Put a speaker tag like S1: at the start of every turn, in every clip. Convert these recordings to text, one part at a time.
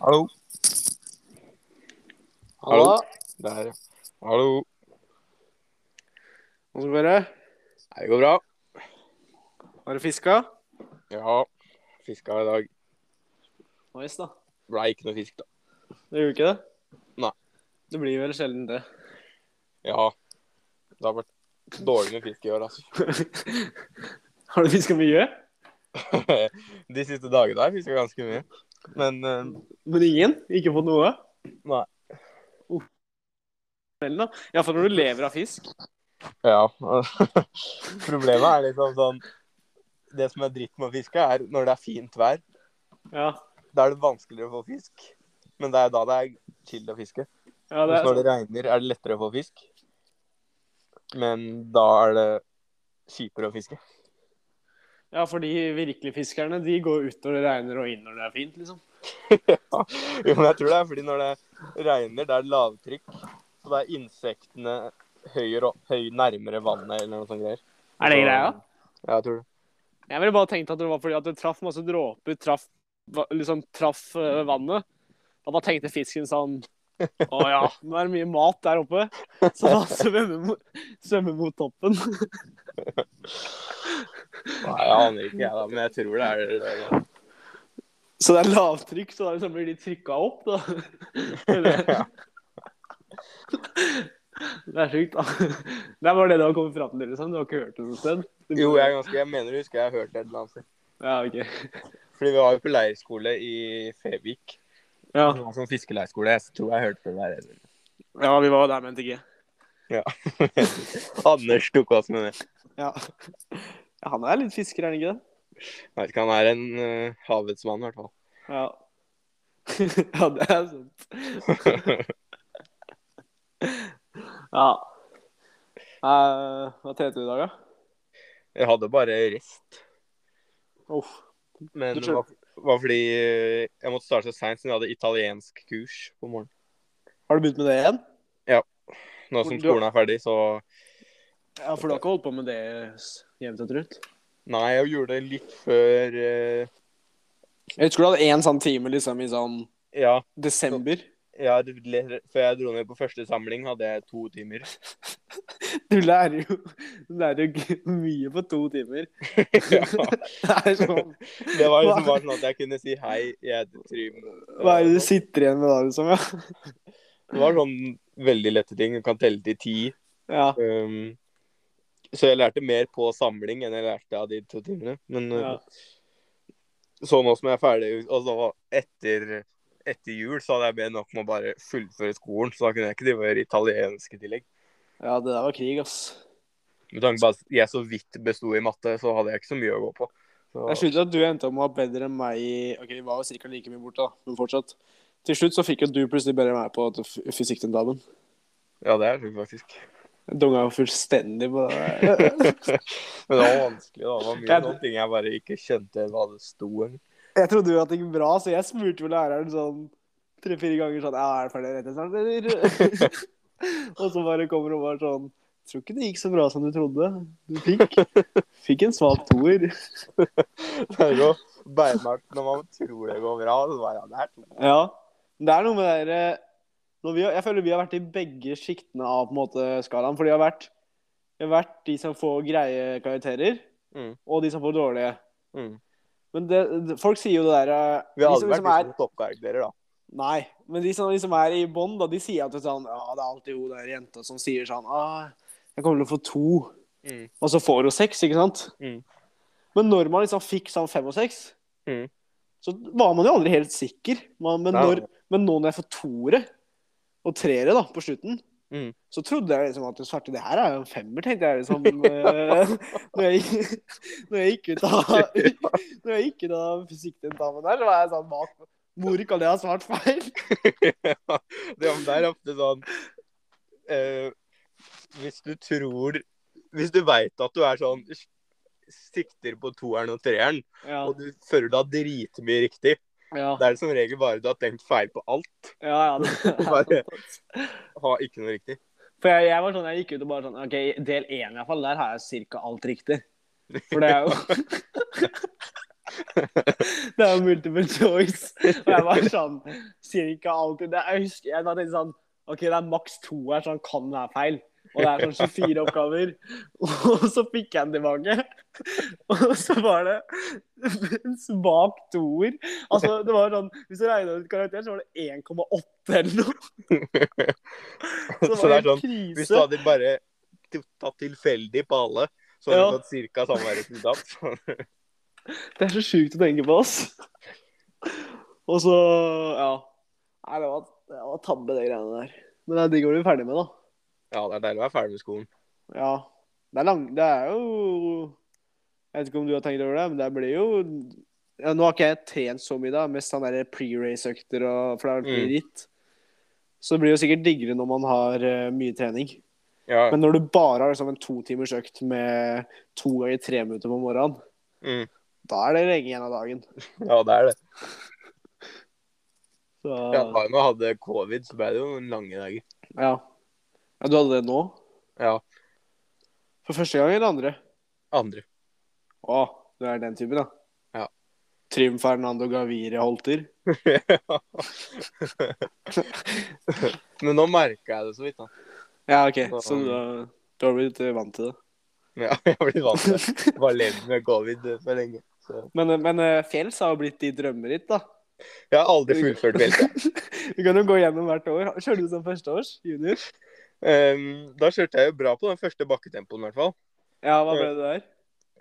S1: Hallo.
S2: Hallo.
S1: Der. Hallo.
S2: Hvordan går det?
S1: Nei, det går bra.
S2: Har du fiska?
S1: Ja, fiska i dag.
S2: Nice, da.
S1: Blei ikke noe fisk, da.
S2: Det gjorde ikke det?
S1: Nei.
S2: Det blir vel sjelden det.
S1: Ja. Det har vært dårlig med fisk i år, altså.
S2: Har du fiska mye?
S1: altså. De siste dagene har jeg fiska ganske mye. Men eh,
S2: Men ingen? Ikke fått noe?
S1: Nei.
S2: Uh. Vel, da. Iallfall når du lever av fisk.
S1: ja. Problemet er liksom sånn Det som er dritt med å fiske, er når det er fint vær.
S2: Ja.
S1: Da er det vanskeligere å få fisk. Men det er da det er chill å fiske.
S2: ja det
S1: Hvis
S2: er...
S1: når det regner, er det lettere å få fisk. Men da er det kjipere å fiske.
S2: Ja, for de virkelige fiskerne de går ut når det regner og inn når det er fint, liksom.
S1: Jo, men jeg tror det er fordi når det regner, det er lavtrykk. Så da er insektene høyere, opp- høy nærmere vannet eller noe sånt greier.
S2: Er det
S1: Så-
S2: greia?
S1: Ja, jeg tror det.
S2: Jeg ville bare tenkt at det var fordi at det traff masse dråper, traff, va- liksom, traff eh, vannet. Da bare tenkte fisken sånn Å ja, nå er det mye mat der oppe. Så da svømmer mot, svømmer mot toppen.
S1: Nei, jeg aner ikke, jeg da, men jeg tror det er det. der.
S2: Så det er lavtrykk, så da liksom blir de trykka opp, da. Eller- Det er sjukt, da. Det er bare det du har kommet fram til, liksom. Du har ikke hørt det noe sted? Du-
S1: Jo, jeg, er ganske, jeg mener jeg husker jeg har hørt det et eller annet sted.
S2: Ja, ok.
S1: Fordi vi var jo på leirskole i Fevik.
S2: Ja.
S1: Det var Sånn fiskeleirskole. Jeg tror jeg hørte det der. eller?
S2: ja, vi var der med NTG.
S1: Anders tok oss med det.
S2: Ja. ja. Han er litt fisker, er han ikke det?
S1: Jeg vet ikke, han er en eh, havets mann, i hvert fall.
S2: Ja. ja, det er sant. ja. Eh, hva trente du i dag, da?
S1: Jeg hadde bare rest.
S2: Uff.
S1: Men
S2: Du
S1: det
S2: tror-
S1: var, var fordi eh, jeg måtte starte så seint siden jeg hadde italiensk kurs på morgenen.
S2: Har du begynt med det igjen?
S1: Nå som
S2: Du-
S1: skolen er ferdig, så
S2: Ja, for du har ikke holdt på med det s- jevnt og trutt?
S1: Nei, jeg gjorde det litt før eh,
S2: Jeg husker du hadde én sånn time liksom i sånn
S1: Ja,
S2: desember.
S1: jeg hadde le- før jeg dro ned på første samling, hadde jeg to timer.
S2: Du lærer jo, du lærer jo g- mye på to timer.
S1: ja.
S2: Det er sånn
S1: Det var liksom bare sånn at jeg kunne si hei, jeg heter Trym.
S2: Hva er det du sitter igjen med da, liksom? Ja.
S1: Det var sånn veldig lette ting. Du kan telle til ti.
S2: ja.
S1: Um, så jeg lærte mer på samling enn jeg lærte av de to timene. Men uh,
S2: Ja.
S1: så nå som jeg er ferdig, og så etter, etter jul, så hadde jeg bedt nok med å bare fullføre skolen. Så da kunne jeg ikke drive og gjøre italiensk i tillegg.
S2: ja, det der var krig, ass.
S1: Med tanke på at jeg så vidt besto i matte, så hadde jeg ikke så mye å gå på. Så,
S2: Jeg skjønner at du endte opp med å ha bedre enn meg i Ok, vi var jo sikkert like mye borte, da, men fortsatt. Til slutt så fikk jo du plutselig bedre enn meg på at f- fysikktentamen.
S1: ja, det er sjukt, faktisk.
S2: Jeg dunga jo fullstendig på det.
S1: Men det var vanskelig. da. Det var mye
S2: Jeg-
S1: sånne ting jeg bare ikke skjønte hva det sto. eller.
S2: Jeg trodde jo at det gikk bra, så jeg smurte jo læreren sånn tre-fire ganger sånn Ja, er det ferdig rett snart, eller? og så bare kommer hun bare sånn Tror ikke det gikk så bra som du trodde. Du fikk, fikk en svak toer.
S1: Det er jo beinhardt når man tror det går bra. Så bare, ja, det er to.
S2: Ja. Men det er noe med det derre når vi har- Jeg føler vi har vært i begge sjiktene av på en måte skalaen. For de har vært, de, har vært de som får greie karakterer,
S1: Mm.
S2: og de som får dårlige.
S1: Mm.
S2: Men det, det, folk sier jo det derre
S1: Vi har
S2: de
S1: aldri vært
S2: som liksom er-
S1: liksom toppkarakterer, da.
S2: Nei, men de som, de som er i bånd, da, de sier at det er sånn, ja, det er alltid hun der jenta som sier sånn ah, 'Jeg kommer til å få to',
S1: Mm.
S2: og så får hun seks, ikke sant?
S1: Mm.
S2: Men når man liksom fikk sånn fem og seks,
S1: Mm.
S2: så var man jo aldri helt sikker. Man, men,
S1: Nei.
S2: når, men nå når jeg får toere og treere da, på slutten,
S1: Mm.
S2: så trodde jeg liksom at svarte, det her er jo en femmer, tenkte jeg liksom. eh, når, jeg, gikk- når jeg gikk ut av, når jeg gikk ut av fysikktentamen der, så var jeg sånn bak. Hvor kan jeg ha svart feil?
S1: Ja, det om det er ofte sånn eh, Hvis du tror Hvis du veit at du er sånn Sikter på toeren og treeren,
S2: Ja.
S1: og du føler du har dritmye riktig,
S2: Ja,
S1: da er det som regel bare du har tenkt feil på alt.
S2: ja. ja det er
S1: Bare-
S2: sant, ass.
S1: Har ikke noe riktig.
S2: For jeg, jeg var sånn, jeg gikk ut og bare sånn OK, del én iallfall, der har jeg cirka alt riktig. For det er jo Det er jo multiple choice. Og jeg var sånn cirka alltid det, Jeg husker jeg bare tenkte sånn OK, det er maks to her, så han kan være feil. Og det er sånn 24 oppgaver. Og så fikk jeg den tilbake. Og så var det en svak toer. Altså, det var sånn Hvis du regna ut karakter, så var det 1,8 eller noe. Så
S1: Så det er
S2: det var
S1: sånn
S2: helt krise.
S1: Hvis du hadde bare t- tatt tilfeldig på alle, så hadde
S2: Ja.
S1: du fått cirka samme resultat.
S2: Det er så sjukt å tenke på, ass. Og så Ja. Nei, det var, det var tabbe, de greiene der. Men det er digg å bli ferdig med, da.
S1: Ja, det er deilig å være ferdig med skolen.
S2: Ja. Det er lang... Det er jo Jeg vet ikke om du har tenkt over det, men det blir jo ja, Nå har ikke jeg trent så mye, da. Mest han derre pre-race-økter og For det har vært mye
S1: Mm.
S2: ritt. Så det blir jo sikkert diggere når man har eh, mye trening.
S1: Ja.
S2: Men når du bare har liksom en to timers økt med to ganger tre minutter på morgenen,
S1: Mm.
S2: da er det lenge igjen av dagen.
S1: ja, det er det.
S2: Så,
S1: Ja, da jeg hadde covid, så ble det jo lange dager.
S2: Ja. ja. Du hadde det nå?
S1: Ja.
S2: For første gang eller andre?
S1: Andre.
S2: Å, du er den typen, da.
S1: Ja.
S2: Trym Fernando Gavire Holter.
S1: Men nå merka jeg det så vidt, da.
S2: Ja, OK.
S1: Så-
S2: Så du har, du har blitt eh, vant til det.
S1: Ja, jeg har blitt vant til det. Bare levd med covid for lenge. Så.
S2: Men, eh, men eh, fjells har jo blitt ditt drømmeritt, da.
S1: Jeg har aldri fullført veltet.
S2: Du kan jo gå gjennom hvert år. Kjørte du som førsteårs junior?
S1: Ehm, da kjørte jeg jo bra på den første bakketempoen, i hvert fall.
S2: Ja, hva ble det der?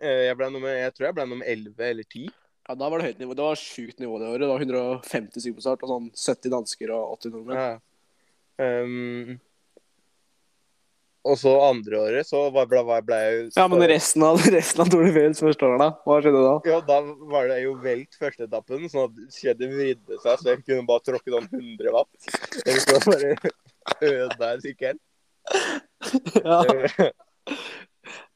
S1: Eh, jeg, ble nummer, jeg tror jeg ble nummer 11 eller 10.
S2: Ja, Da var det høyt nivå. Det var sjukt nivå det året. Det var 150 stykker på start, og sånn 70 dansker og 80 nordmenn.
S1: Ja. Ehm, og så andre året så var, ble, var- ble jeg jo
S2: Ja, men resten av, resten av Tour de Fjells første året, da? Hva skjedde da?
S1: Ja, da var det jo velt førsteetappen, sånn at kjedet vridde seg, så jeg kunne bare tråkke sånn 100 watt. Eller så bare ødela jeg sykkelen.
S2: Ja,
S1: Eh,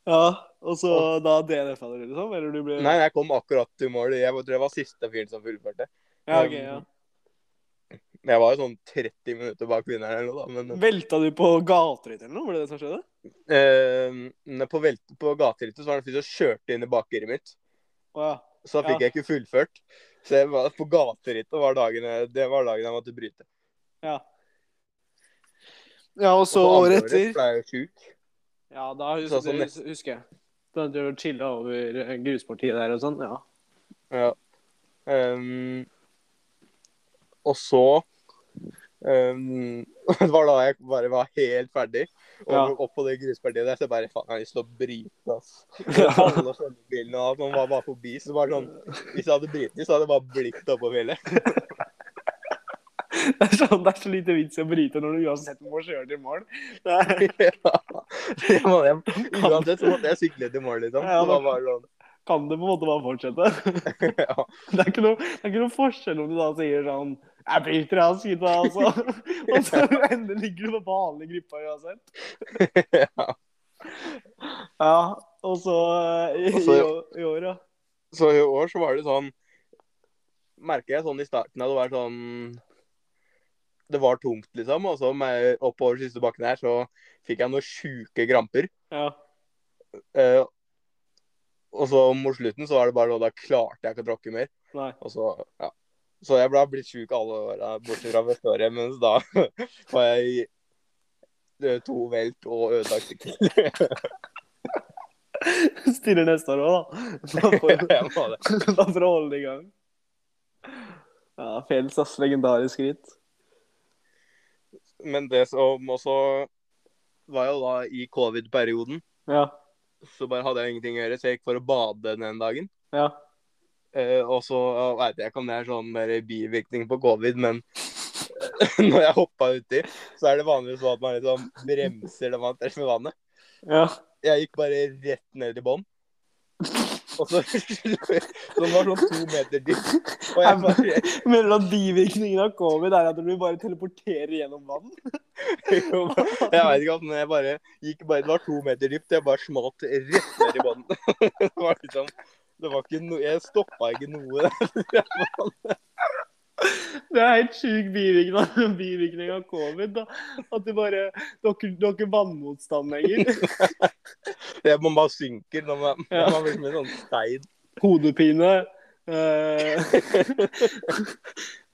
S2: ja. Og så da DNF-a du, liksom? Eller du ble
S1: Nei, jeg kom akkurat til mål. Jeg tror jeg var siste fyren som fullførte.
S2: Ja, ok, ja.
S1: Men jeg var jo sånn 30 minutter bak vinneren eller noe, da. Men
S2: Velta du på gaterytter eller noe? Var det det som skjedde?
S1: Eh, nei, på, velt- på gaterittet så var det en fyr som kjørte inn i bakeriet mitt.
S2: Å ja.
S1: Så da fikk
S2: Ja.
S1: jeg ikke fullført. Så jeg var, på gaterittet var dagen, jeg- det var dagen jeg måtte bryte.
S2: Ja, ja og så
S1: Og på andre
S2: året
S1: året
S2: etter
S1: ble jeg jo sjuk.
S2: Ja, da hus
S1: Sånn som
S2: det hus husker jeg. Da hadde du chilla over eh, gruspartiet der og sånn. Ja.
S1: Ja. Ehm, og så ehm, Det var da jeg bare var helt ferdig. Og
S2: Ja.
S1: opp på det gruspartiet der så jeg bare Faen, jeg har lyst til å bryte, ass.
S2: Ja.
S1: Alle følgebilene og alt, man var bare forbi. Så bare sånn Hvis jeg hadde brytet, så hadde jeg bare blitt oppover fjellet.
S2: Det er, sånn, det er så lite vits i å bryte når du uansett må kjøre til mål. Det er,
S1: Ja. Jeg må- jeg- Uansett så måtte jeg sykle til mål, liksom.
S2: Ja,
S1: Så da var det sånn.
S2: kan det på en måte bare fortsette?
S1: Ja.
S2: Det er ikke noe, det er ikke noe forskjell om du da sier sånn jeg bryter ass, gutta, altså. Og så ender ligger du på vanlig gruppa uansett.
S1: Ja.
S2: Ja, og så eh, i,
S1: Og så-
S2: i, å- i år, ja.
S1: Så i år så var det sånn Merker jeg sånn i starten at det var sånn Det var tungt, liksom. Og så med- oppover siste bakken her så fikk jeg noen sjuke kramper.
S2: ja.
S1: Eh, og så mot slutten så var det bare sånn Da klarte jeg ikke å tråkke mer.
S2: Nei.
S1: Og så, ja. Så jeg ble blitt sjuk alle åra bortsett fra første året, mens da var jeg i eh, to velt og ødelagt sykkel.
S2: Stiller neste år òg, da. Bare
S1: Jeg
S2: for,
S1: må det.
S2: bare for å holde det i gang. Ja, Fjells, ass. Legendarisk ritt.
S1: Men det som også var jo da i covid-perioden,
S2: Ja.
S1: så bare hadde jeg ingenting å gjøre, så jeg gikk for å bade den dagen.
S2: Ja.
S1: Eh, og så ja, vet jeg ikke om det er sånn mer bivirkning på covid, men når jeg hoppa uti, så er det vanligvis sånn at man liksom bremser når man treffer vannet.
S2: ja.
S1: Jeg gikk bare rett ned i bånn. Og så Den var sånn to meter dyp. Og jeg bare
S2: Mener du at bivirkningen av covid er at du bare teleporterer gjennom vann?
S1: jo, Jeg veit ikke, men jeg bare gikk bare Det var to meter dypt, jeg bare smalt rett ned i bånn. Det var liksom Det var ikke noe Jeg stoppa ikke noe.
S2: Det er helt sjuk bivirkning, av- bivirkning av covid. da. At du bare Du har ikke- du har ikke vannmotstand lenger.
S1: Jeg, man bare synker når man,
S2: Ja.
S1: man blir som en sånn stein.
S2: Hodepine. Eh,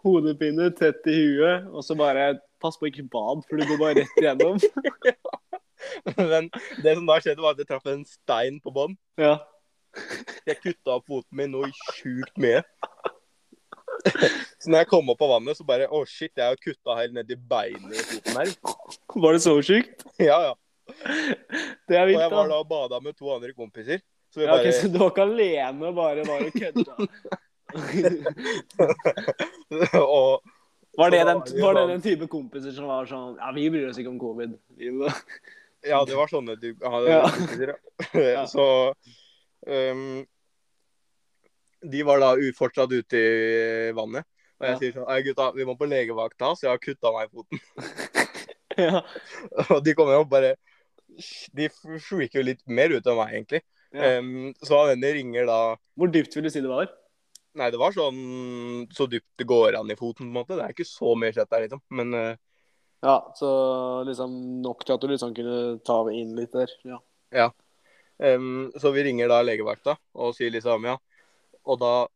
S2: hodepine, tett i huet, og så bare Pass på ikke bad, for du går bare rett igjennom.
S1: Men det som da skjedde, var at jeg traff en stein på bånn.
S2: Ja.
S1: Jeg kutta opp foten min noe sjukt mye. Så når jeg kom opp av vannet, så bare Å, shit, jeg har kutta helt ned i beinet i foten her.
S2: Var det så sjukt?
S1: Ja, ja.
S2: Det er
S1: Og
S2: vilt,
S1: jeg var
S2: da.
S1: da og bada med to andre kompiser. Så vi
S2: Ja, ok,
S1: bare
S2: så du var ikke alene og bare var og kødda?
S1: Og
S2: Var det,
S1: Så da
S2: den,
S1: var det jo
S2: var det
S1: sånn-
S2: den type kompiser som var sånn Ja, vi bryr oss ikke om covid. Vi må-
S1: Ja, det var sånne du ja,
S2: Ja.
S1: kompiser, ja. Så ehm, De var da u- fortsatt ute i vannet. Og jeg
S2: Ja.
S1: sier sånn Ei, gutta, vi må på legevakta, så jeg har kutta meg i foten.
S2: Ja.
S1: Og de kommer jo bare De freaker jo litt mer ut enn meg, egentlig.
S2: Ja.
S1: Ehm, så han ene ringer da
S2: Hvor dypt vil du si det var?
S1: Nei, det var sånn så dypt det går an i foten, på en måte. Det er ikke så mye kjøtt der, liksom. Men eh,
S2: Ja, så liksom nok til at du liksom kunne ta inn litt der. Ja.
S1: Ehm, så vi ringer da legevakta og sier liksom ja. Og da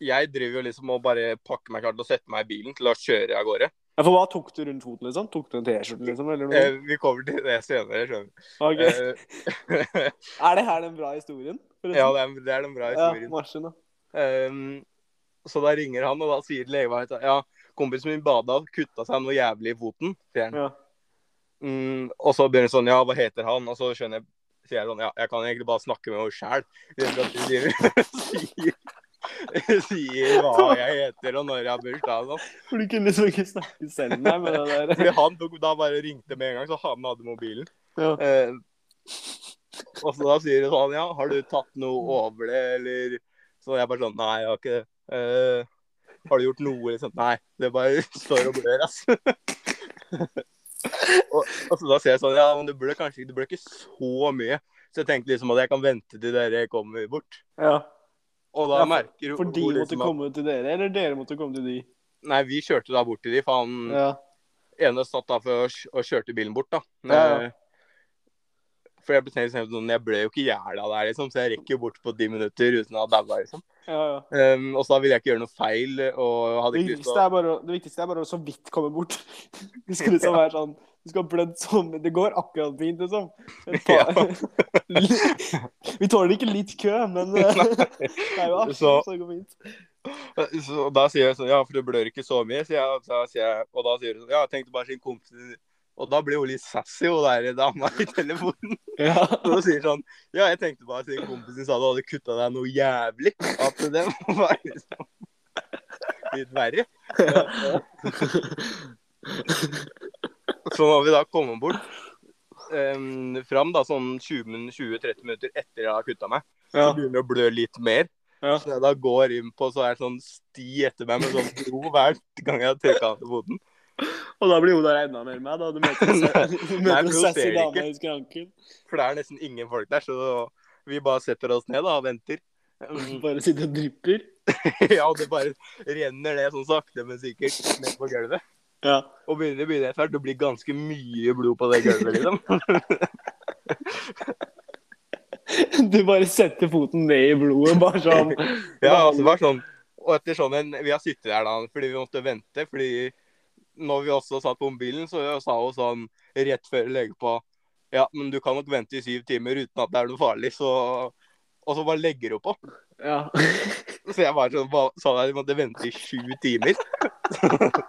S1: Jeg driver jo liksom og bare pakker meg klar til å sette meg i bilen til å kjøre av gårde.
S2: Ja, For hva tok du rundt foten, liksom? Tok du en T-skjorte, liksom? Eller noe?
S1: Eh, vi kommer til det senere, skjønner du.
S2: Ok.
S1: Eh,
S2: Er det her den bra historien? forresten?
S1: ja, det er, det er den bra historien.
S2: Ja, marsjen, da.
S1: Ehm, så da ringer han, og da sier legevakta ja, kompisen min bada og kutta seg noe jævlig i foten. sier han.
S2: Ja.
S1: Mm, og så begynner han sånn ja, hva heter han? Og så skjønner jeg sier jeg sånn ja, jeg kan egentlig bare snakke med henne sjæl. Sier, sier hva jeg heter og når jeg har bursdag. og sånn.
S2: For du kunne liksom ikke snakke selv, nei, med det der.
S1: Fordi han tok, da bare ringte med en gang, så han hadde mobilen.
S2: Ja.
S1: Eh, og så da sier han sånn ja, har du tatt noe over det, eller Så jeg bare sånn nei, jeg har ikke det. Eh, har du gjort noe, liksom? Nei. Det bare står og blør, ass. og, og så da sier jeg sånn ja, men det blør kanskje ikke, det blør ikke så mye. Så jeg tenkte liksom at jeg kan vente til dere kommer bort.
S2: ja.
S1: Og da
S2: Ja, for-
S1: merker
S2: For de
S1: hun
S2: måtte
S1: liksom at-
S2: komme til dere, eller dere måtte komme til de?
S1: Nei, vi kjørte da bort til de, for han
S2: Ja.
S1: ene satt da for å kj- og kjørte bilen bort, da.
S2: Ja, ja.
S1: Eh, For jeg ble, tenkt sånn, jeg ble jo ikke jævla der, liksom, så jeg rekker jo bort på ti minutter uten å ha daua. Liksom.
S2: ja, ja.
S1: Um, og så da ville jeg ikke gjøre noe feil. og hadde
S2: Det
S1: ikke lyst til
S2: viktigste,
S1: å...
S2: er bare, å- det viktigste er bare å så vidt komme bort. Du skal liksom være sånn Du skal ha blødd sånn men Det går akkurat fint, liksom. Et par- Vi tåler ikke litt kø, men eh, det er jo akkurat så
S1: Så-
S2: det går fint.
S1: Så da sier jeg sånn, ja, for det blør ikke så mye, sier jeg. Og, så sier jeg, og da sier hun sånn, ja, jeg tenkte bare sin kompis Og da blir hun litt sassy, hun der dama i telefonen.
S2: Ja.
S1: Og hun sier sånn, ja, jeg tenkte bare sin kompis din sa du hadde kutta deg noe jævlig. At det må være liksom litt verre. Så når vi da kommer bort eh, fram da, sånn 20 min- 20-30 minutter etter jeg har kutta meg,
S2: ja.
S1: så begynner det å blø litt mer.
S2: Ja.
S1: Så jeg da går inn på, så er det sånn sti etter meg med sånn bro hver gang jeg har tørka av til foten.
S2: Og da blir hun der enda mer med, da. Du møter en sa- du møter
S1: Nei,
S2: en
S1: hun
S2: sassy
S1: ser det
S2: dame
S1: ikke.
S2: i skranken.
S1: For det er nesten ingen folk der, så vi bare setter oss ned da, og venter. Um,
S2: Bare sitter og drypper.
S1: ja, og det bare renner ned sånn sakte, men sikkert ned på gulvet.
S2: Ja.
S1: Og begynner det begynner etter hvert, det blir ganske mye blod på det gulvet, liksom.
S2: Du bare setter foten ned i blodet, bare sånn.
S1: Ja, altså bare sånn. Og etter sånn en Vi har sittet der da, fordi vi måtte vente. Fordi når vi også satt på mobilen, så sa hun sånn rett før legge på Ja, men du kan nok vente i syv timer uten at det er noe farlig, så Og så bare legger hun på.
S2: Ja.
S1: Så jeg bare sånn, ba- sa at vi måtte vente i sju timer.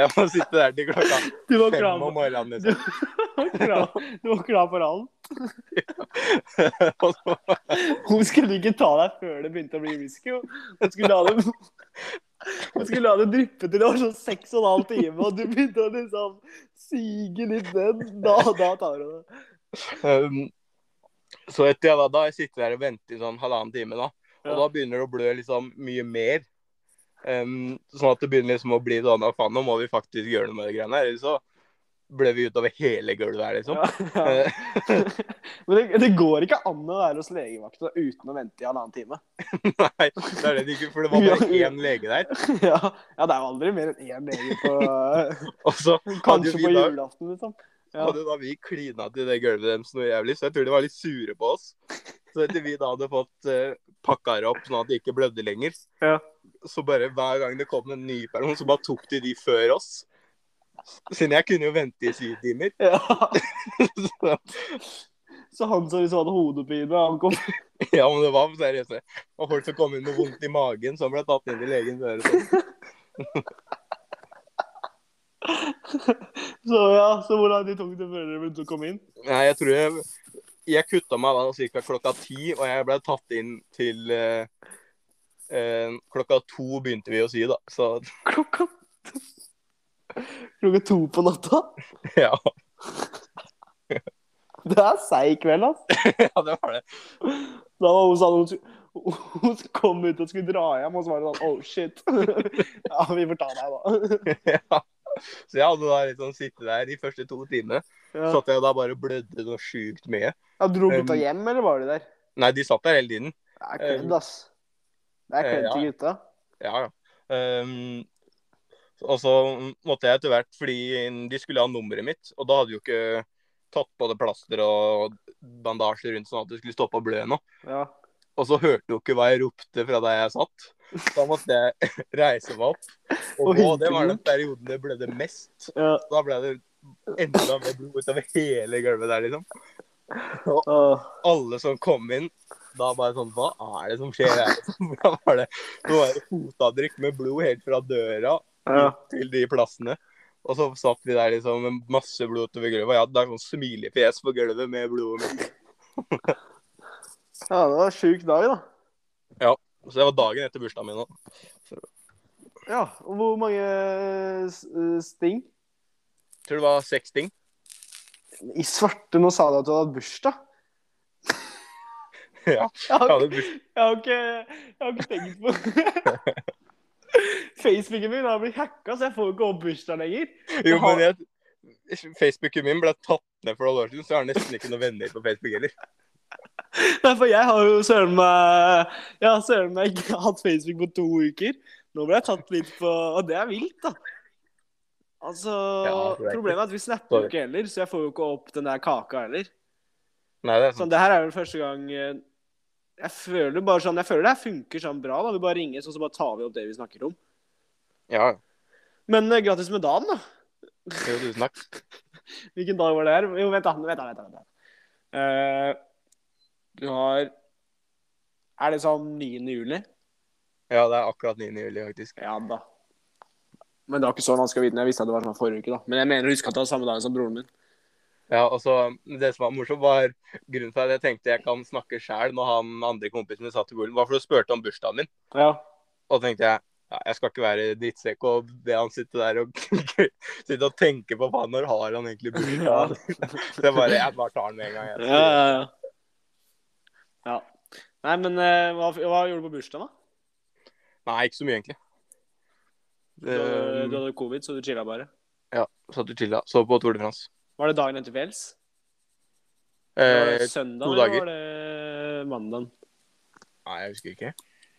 S1: Jeg må sitte der til klokka
S2: Du var
S1: fem
S2: klar,
S1: om
S2: på-
S1: morgenen.
S2: du
S1: Liksom.
S2: var klar, du var klar for alt.
S1: Og så,
S2: Hun skulle ikke ta deg før det begynte å bli whisky. jo. Hun skulle la det Hun skulle la det dryppe til det var sånn seks og en halv time, og du begynte å liksom sige litt ned. Da, da tar hun det.
S1: um, så etter jeg da, da har jeg sittet der og ventet i sånn halvannen time, da. Og
S2: Ja.
S1: da begynner det å blø liksom mye mer. Um, sånn at det begynner liksom å bli sånn at faen, nå må vi faktisk gjøre noe med de greiene her. Eller så blør vi utover hele gulvet her, liksom.
S2: Ja. Men det, det går ikke an å være hos legevakta uten å vente i halvannen time.
S1: Nei, det er det ikke, for det var bare
S2: Ja.
S1: én lege der.
S2: Ja, ja det er jo aldri mer enn én lege på
S1: Og så hadde jo
S2: Kanskje
S1: vi
S2: på
S1: da,
S2: julaften, liksom. Ja.
S1: hadde jo da vi klina til det gulvet deres noe jævlig, så jeg tror de var litt sure på oss. Så etter vi da hadde fått eh, pakka det opp sånn at det ikke blødde lenger,
S2: Ja.
S1: så bare hver gang det kom en ny person, så bare tok de de før oss. Siden jeg kunne jo vente i syv timer.
S2: Ja.
S1: Så,
S2: Så han som liksom hadde hodepine, han kom
S1: ja, men det var seriøst. det. Og folk som kom inn med vondt i magen, som ble tatt inn til legen før. Så.
S2: Så ja, så hvor lang tid tok det før dere begynte å komme inn?
S1: Nei, jeg tror jeg Jeg kutta meg da ca. klokka ti, og jeg ble tatt inn til eh, eh, Klokka to begynte vi å si, da. Så
S2: Klokka Klokka to på natta?
S1: ja,
S2: Det er seig kveld, altså.
S1: ja det var det.
S2: Da var hun sånn hun skulle- Hun kom ut og skulle dra hjem, og så var det sånn Oh, shit. Ja, vi får ta deg, da.
S1: ja. Så jeg hadde da litt sånn sitte der de første to timene.
S2: Ja.
S1: Satt jeg da bare og blødde noe sjukt mye.
S2: Ja, dro gutta hjem, eller var de der?
S1: Nei, de satt der hele tiden.
S2: Det er kødd, ass. Det er kødd til gutta.
S1: Ja, ja. Ehm, og så måtte jeg etter hvert, fordi de skulle ha nummeret mitt, og da hadde de jo ikke tatt både plaster og bandasjer rundt sånn at det skulle stoppe å blø ennå.
S2: Ja.
S1: Og så hørte jo ikke hva jeg ropte fra der jeg satt. Da måtte jeg reise meg opp. Og,
S2: Og
S1: gå. det
S2: hente
S1: var den
S2: bort.
S1: perioden det blødde mest.
S2: ja.
S1: Da ble det enda mer blod utover hele gulvet der, liksom.
S2: Åh.
S1: alle som kom inn, da bare sånn Hva er det som skjer her? Da var det, nå var det fotavtrykk med blod helt fra døra
S2: Ja.
S1: til de plassene. Og så satt vi der liksom med masse blod utover gulvet. Og jeg hadde da sånn smilefjes på gulvet med blodet mitt.
S2: ja, det var en sjuk dag, da.
S1: Så det var dagen etter bursdagen min òg.
S2: Ja, og Hvor mange eh, s- sting?
S1: Tror det var seks ting.
S2: I svarte, nå sa du at du hadde hatt bursdag.
S1: Ja,
S2: Jeg
S1: jeg
S2: har,
S1: hadde bursdag.
S2: jeg har, ikke, jeg har ikke tenkt på Facebooken min har blitt hacka, så jeg får ikke opp bursdag lenger.
S1: Jo, men jeg, Facebooken min ble tatt ned for noen år siden, så jeg har nesten ikke noen venner på Facebook heller.
S2: Nei, for jeg har jo søren meg Jeg har søren meg ikke hatt Facebook på to uker. Nå ble jeg tatt litt på Og det er vilt, da. Altså,
S1: Ja, det er
S2: Problemet er at vi snapper jo ikke heller, så jeg får jo ikke opp den der kaka heller.
S1: Nei, det er
S2: Sånn,
S1: sånn.
S2: det her er vel første gang eh, Jeg føler bare sånn, jeg føler det her funker sånn bra. da, Vi bare ringes, og så bare tar vi opp det vi snakker om.
S1: Ja,
S2: Men eh, grattis med dagen, da.
S1: jo, tusen takk.
S2: Hvilken dag var det her? Jo, vent, da. Vent, da, vent, da, vent, da. Eh, du har Er det sånn 9. juli?
S1: Ja, det er akkurat 9. juli, faktisk.
S2: Ja da. Men det var ikke så vanskelig å vite. Jeg visste at det var sånn forrige uke, da. Men jeg mener å huske at det var samme dag som broren min.
S1: Ja, og så Det som var morsomt, var grunnen til at jeg tenkte jeg kan snakke sjæl når han andre kompisen min satt i bordet, var for å spurte om bursdagen min.
S2: Ja.
S1: Og da tenkte jeg ja, jeg skal ikke være drittsekk og be han sitte der og sitte og tenke på faen, når har han egentlig bursdag? Så jeg bare, jeg bare tar den med en gang.
S2: Ja,
S1: Jeg.
S2: ja, ja. ja. Nei, men eh, hva, hva gjorde du på bursdagen, da?
S1: Nei, ikke så mye, egentlig.
S2: Du hadde, du
S1: Det,
S2: hadde covid, så du chilla bare.
S1: satt og chilla. Så på Tour de France.
S2: Var det dagen etter Wales? Var
S1: Eh,
S2: det søndag,
S1: to
S2: eller
S1: dager.
S2: var det mandag?
S1: nei, jeg husker ikke.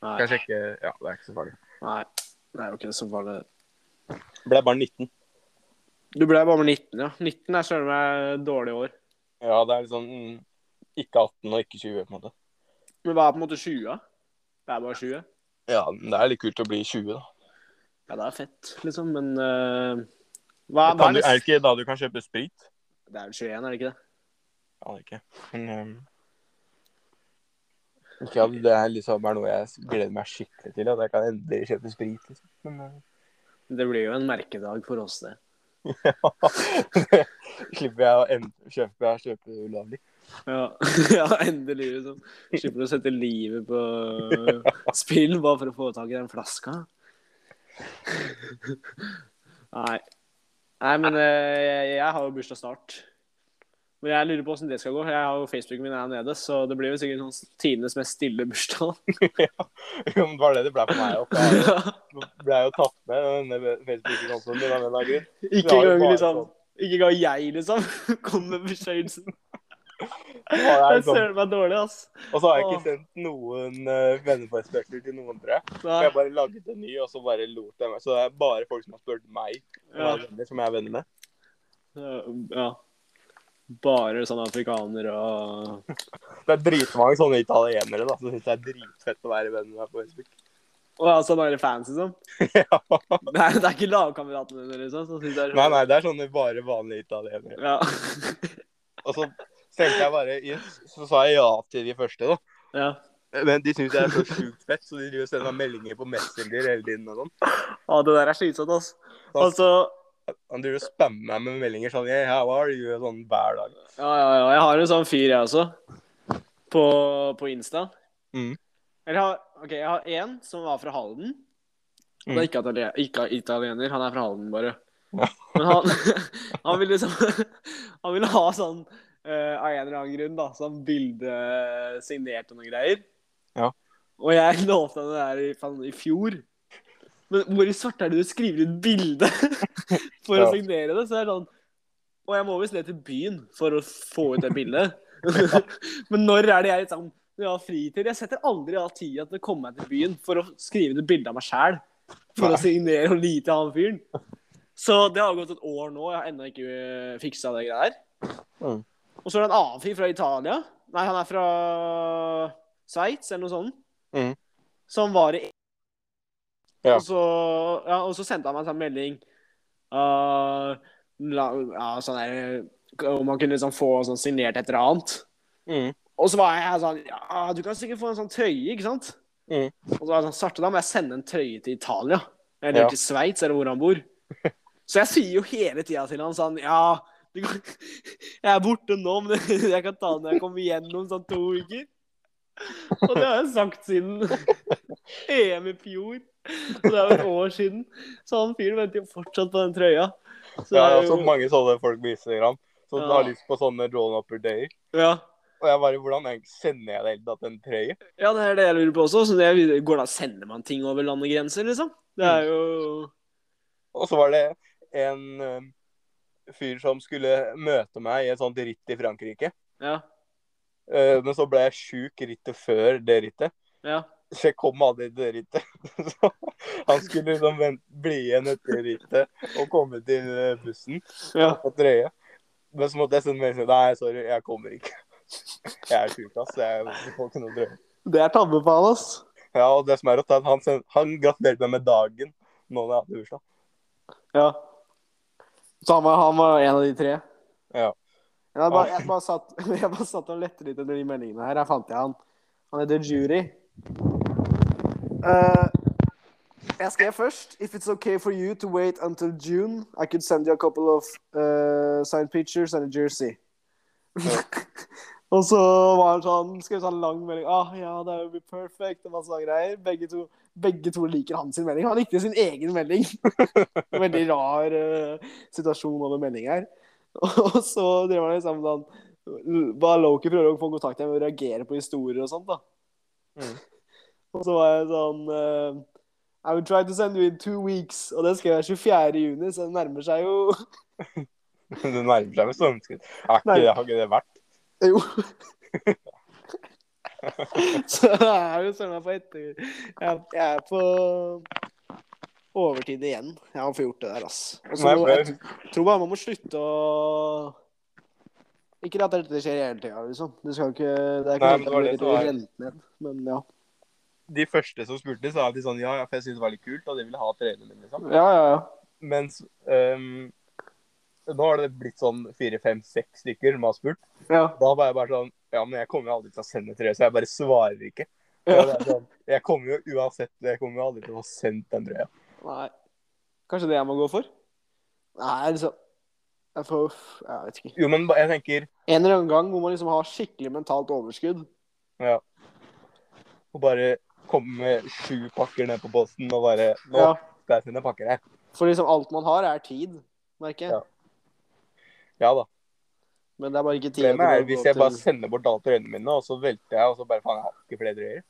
S2: Nei.
S1: Skal jeg sjekke Ja, det er ikke så farlig.
S2: Nei. Nei, ok, så var det
S1: Ble bare 19.
S2: Du ble bare med 19, ja. 19 er søren meg dårlig år.
S1: Ja, det er litt sånn mm, ikke 18 og ikke 20, på en måte.
S2: Men hva er på en måte 20? Det er bare 20?
S1: Ja, men det er litt kult å bli 20, da.
S2: Ja, det er fett, liksom, men eh, hva, hva
S1: Kan du,
S2: er det
S1: er det ikke da du kan kjøpe sprit?
S2: Det er vel 21, er det ikke det?
S1: Jeg aner ikke. Men ehm, ikke at Det er liksom bare noe jeg gleder meg skikkelig til. At jeg kan endelig kjøpe sprit. liksom. Men, eh,
S2: Det blir jo en merkedag for oss, det.
S1: eh, Slipper jeg å end kjøpe, jeg kjøpe ulovlig.
S2: Ja, ja endelig, liksom. Slipper å sette livet på spill bare for å få tak i den flaska. Nei. Nei, men eh, jeg, jeg har jo bursdag snart. Men jeg lurer på åssen det skal gå. Jeg har jo Facebooken min her nede, så det blir jo sikkert sånn tidenes mest stille bursdag.
S1: Jo, men Det var det det ble for meg òg. Jeg ble jo tatt med i denne Facebook-kontoen min av en eller annen grunn.
S2: Ikke
S1: har jo
S2: engang
S1: bare
S2: liksom
S1: sånn.
S2: Ikke engang jeg, liksom, kommer med bursdagshilsen.
S1: Ja, det er
S2: Jeg
S1: sånn.
S2: søren meg dårlig, ass.
S1: Og så har jeg ikke sendt noen uh, venneforespørsler til noen, tror jeg. For
S2: Nei.
S1: Jeg bare laget en ny, og så bare lot jeg meg. Så det er bare folk som har spurt meg, som
S2: Ja.
S1: er venner, som jeg er venner med.
S2: Eh, Ja. Bare sånne afrikanere og
S1: Det er dritmange sånne italienere da, som syns det er dritfett å være venn med meg på Facebook.
S2: Og ja, sånne der fans, liksom.
S1: Ja.
S2: Det er, det er ikke lagkameratene dine, liksom. Som synes det er så-
S1: Nei, nei, det er sånne bare vanlige italienere.
S2: Ja.
S1: Og så tenkte jeg bare yes, Så sa jeg ja til de første, da.
S2: ja.
S1: Men de syns jeg er så sjukt fett, så de driver og sender meg meldinger på Messenger hele tiden. og sånn.
S2: Å, det der er slitsomt, ass. Altså,
S1: Han driver og spammer meg med meldinger sånn yeah, how are you? og sånn hver dag.
S2: ja, ja, ja. Jeg har en sånn fyr, jeg også. På, på Insta.
S1: Mm.
S2: Eller, jeg har, ok, jeg har en som var fra Halden. Han
S1: Mm.
S2: er ikke, italien, ikke italiener, han er fra Halden, bare. Men han, han ville liksom Han ville ha sånn eh, av en eller annen grunn, da, sånn bilde eh, signert og noen greier.
S1: Ja.
S2: Og jeg lovte han det der i, faen, i fjor. Men hvor i svarte er det du skriver ut bilde for å
S1: Ja.
S2: signere det? Så det er sånn Og jeg må visst ned til byen for å få ut det bildet. Men når er det jeg liksom når jeg har fritid? Jeg setter aldri av tida til å komme meg til byen for å skrive ut bilde av meg sjæl. For å
S1: Nei.
S2: signere og lite han fyren. Så det har gått et år nå, jeg har ennå ikke eh, fiksa det greia der.
S1: Mm.
S2: Og så er det en annen fyr fra Italia. Nei, han er fra Sveits eller noe sånt.
S1: Mm.
S2: Som var i
S1: Ja.
S2: Og, så, ja, og så sendte han meg en sånn melding uh, la, ja, sånn der, Om han kunne liksom få sånn signert et eller annet.
S1: Mm.
S2: Og så var jeg sånn Ja, du kan sikkert få en sånn trøye, ikke sant?
S1: Mm.
S2: Og så var jeg sånn Sarte, da må jeg sende en trøye til Italia. Eller
S1: Ja.
S2: til Sveits, eller hvor han bor. Så jeg sier jo hele tida til han sånn Ja, du kan... jeg er borte nå, men jeg kan ta den når jeg kommer igjen om sånn to uker. Og det har jeg sagt siden EM i fjor. Og det er jo et år siden. Så han fyren venter jo fortsatt på den trøya. Så det
S1: Ja,
S2: er
S1: ja, så
S2: jo-
S1: mange sånne folk på Instagram som
S2: Ja.
S1: har lyst på sånne roll-upper-dayer.
S2: ja.
S1: Og jeg bare Hvordan egentlig sender jeg det hele tatt en trøye?
S2: Ja, det er det jeg lurer på også. Så det er- går det an å sende man ting over landegrenser, liksom? Det er jo
S1: Og så var det en øhm, fyr som skulle møte meg i et sånt ritt i Frankrike.
S2: Ja.
S1: Eh, men så ble jeg sjuk rittet før det rittet.
S2: Ja.
S1: Så jeg kom aldri til det rittet. Så han skulle liksom vent, bli igjen etter rittet og komme til eh, bussen
S2: ja.
S1: på trøye. Men så måtte jeg sende melding Nei, sorry, jeg kommer ikke. Jeg er sjuk, ass. Jeg får ikke noe drøye.
S2: Det er tabbe på han, ass.
S1: Ja, og det som er rått, er at han, send, han gratulerte meg med dagen nå når jeg hadde bursdag.
S2: Ja. Så han var, han var en av de tre?
S1: Ja.
S2: Jeg bare, jeg bare, satt, jeg bare satt og lette litt under de meldingene her. Her fant jeg han. Han heter Jury. Eh, jeg skrev først If it's okay for you to wait until June, I could send you a couple of eh, signed pictures and a jersey.
S1: Ja.
S2: og så var han sånn, skrev sånn lang melding. Ah, ja, det would be perfect. Og masse sånne greier. Begge to, begge to liker hans melding. Han likte sin egen melding. Veldig rar eh, situasjon over melding her. Og så driver han liksom sånn Bare Loki prøver å få kontakt med meg og reagere på historier og sånt, da.
S1: Mm.
S2: Og så var jeg sånn eh, I will try to send you in two weeks. Og det skrev jeg 24. juni, så det nærmer seg jo
S1: Det nærmer seg med stormskritt. Er ikke
S2: Nei.
S1: det, har ikke det vært?
S2: Jo. så det er jo søren meg på etter... Jeg, jeg er på overtid igjen. Jeg har fått gjort det der, ass.
S1: Nei,
S2: Og så
S1: for
S2: jeg
S1: jeg,
S2: tror bare man må slutte å Ikke at dette skjer hele tida, liksom. Det skal ikke Det er ikke
S1: Nei, men
S2: sånn at
S1: det var
S2: det
S1: det
S2: blir
S1: som var-
S2: rent ned, men ja.
S1: de første som spurte, sa at de sånn Ja, ja, for jeg syntes det var litt kult, og de ville ha treene mine, liksom.
S2: Ja, ja, ja.
S1: Mens øhm, nå har det blitt sånn fire, fem, seks stykker som har spurt.
S2: ja.
S1: Da var jeg bare sånn Ja, men jeg kommer jo aldri til å sende trøye, så jeg bare svarer ikke.
S2: Ja.
S1: Jeg, sånn, jeg kommer jo uansett Jeg kommer jo aldri til å få sendt den trøya.
S2: Nei. Kanskje det jeg må gå for? Nei, liksom Jeg får Jeg vet ikke.
S1: Jo, men ba- jeg tenker
S2: En eller annen gang hvor man liksom har skikkelig mentalt overskudd.
S1: Ja. Å bare komme med sju pakker ned på posten og bare Nå
S2: Ja.
S1: skal jeg sende pakker her.
S2: For liksom alt man har, er tid, merker jeg.
S1: Ja. Ja da.
S2: Men det er bare ikke tid
S1: Problemet er hvis jeg bare
S2: til
S1: sender bort alle trøyene mine, og så velter jeg, og så bare faen, jeg har ikke flere trøyer.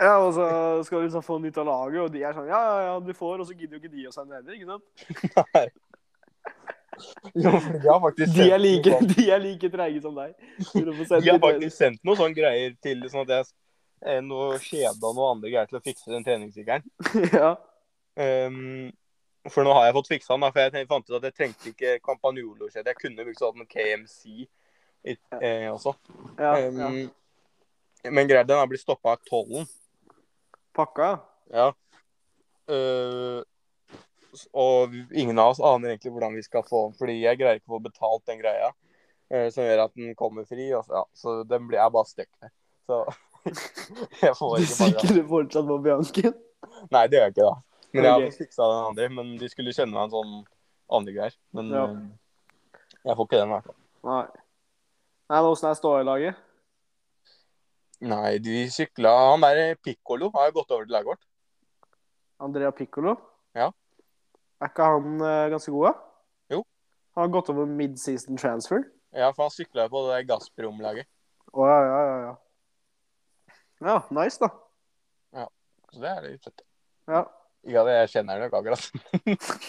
S2: Ja, og så skal du liksom få nytt av laget, og de er sånn Ja, ja, ja, du får, og så gidder jo ikke de å sende heller, ikke sant?
S1: Nei. Jo, for de har faktisk
S2: De er
S1: sendt
S2: like,
S1: noe sånn-
S2: de er like treige som deg. til å få sendt
S1: De har
S2: litt mer.
S1: faktisk sendt noe sånn greier til sånn at jeg eh, noe kjede og noe andre greier til å fikse den treningssykkelen.
S2: Ja.
S1: Ehm, For nå har jeg fått fiksa den, da, for jeg ten- fant ut at jeg trengte ikke Campagnolo-kjede. Jeg kunne brukt sånn KMC i, eh, også.
S2: Ja, ja.
S1: Um, Men greit, den har blitt stoppa av tollen.
S2: Pakka,
S1: Ja.
S2: ja.
S1: Eh, s- og vi- ingen av oss aner egentlig hvordan vi skal få den, fordi jeg greier ikke å få betalt den greia eh, som gjør at den kommer fri. Og, så- ja, så den blir jeg bare stuck med. Så jeg får
S2: Du
S1: ikke bare
S2: sikrer fortsatt på Bianken?
S1: Nei, det gjør jeg ikke, da. Men jeg har
S2: Ok.
S1: fått fiksa den andre. Men de skulle kjenne meg en sånn andre greier. Men
S2: Ja.
S1: eh, jeg får ikke den, i hvert fall.
S2: Nei. Nei, men Åssen er ståa i laget?
S1: Nei, de sykla Han der Pikkolo har jo gått over til laget vårt.
S2: Andrea Piccolo?
S1: Ja.
S2: Er ikke han eh, ganske god, da?
S1: Jo.
S2: Han har gått over mid-season transfer?
S1: Ja, for han sykla jo på det der Gazprom-laget.
S2: Å ja, ja, ja, ja. Ja, nice, da.
S1: Så det er litt fett.
S2: Ja.
S1: Ikke at jeg kjenner ham nok akkurat.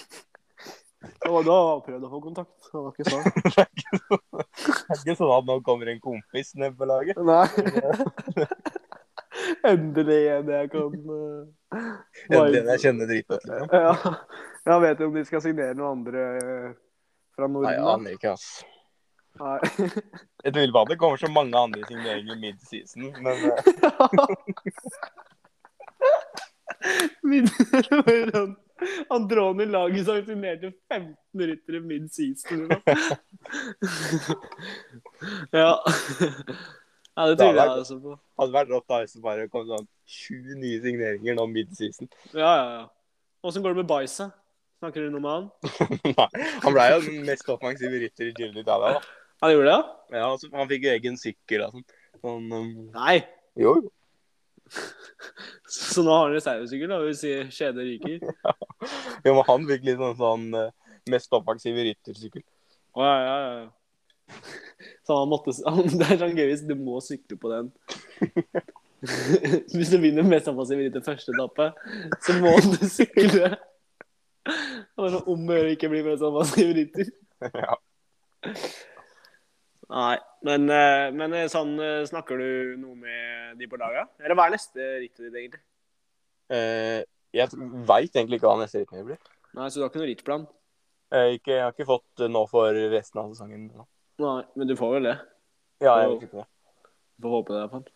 S2: Og da prøvde jeg å få kontakt. Han var ikke sånn.
S1: Det er ikke sånn at nå kommer en kompis ned på laget.
S2: Nei. Endelig en jeg kan eh,
S1: Endelig en
S2: vibe.
S1: jeg kjenner dritgodt. Liksom.
S2: Ja. Jeg vet jo om de skal signere noen andre eh, fra
S1: Nei, jeg
S2: Norden,
S1: aner ikke, ass.
S2: da. Nei.
S1: Jeg tviler på at det kommer så mange andre signeringer mid-season, men eh,
S2: Minner over han Androni laget sanksjonerte 15 ryttere mid-season. liksom. ja. ja, det tviler jeg altså på.
S1: hadde vært rått da hvis det bare kom sånn 20 nye signeringer nå mid-season.
S2: Ja, ja, ja. Åssen går det med Bajsa? Snakker du noe med han?
S1: Nei, han ble jo den mest offensive rytter i Giro d'Italia, da.
S2: Han gjorde det, ja?
S1: Ja, altså, han fikk jo egen sykkel og sånn. sånn um,
S2: Nei.
S1: jo, jo.
S2: Så så nå har han reservesykkel, da, hvis kjedet ryker.
S1: jo, men han fikk litt sånn, sånn eh, mest offensive ryttersykkel.
S2: Å, ja, ja, ja, ja. Så han måtte han, Det er sånn gøy hvis du må sykle på den. Hvis du vinner mest offensiv ritt i første etappe, så må du sykle. Det var sånn om å gjøre å ikke bli mest offensiv ritter.
S1: Ja.
S2: Nei, men, eh, men eh, sånn eh, snakker du noe med de på laga? Eller hva er neste rittet ditt, egentlig?
S1: Eh, jeg veit egentlig ikke hva neste ritt blir.
S2: Nei, Så du har ikke noen rittplan?
S1: Eh, ikke, jeg har ikke fått eh, nå for resten av sesongen. nå.
S2: Nei, men du får vel det.
S1: Ja, jeg vet ikke det.
S2: Du får håpe det, i hvert fall.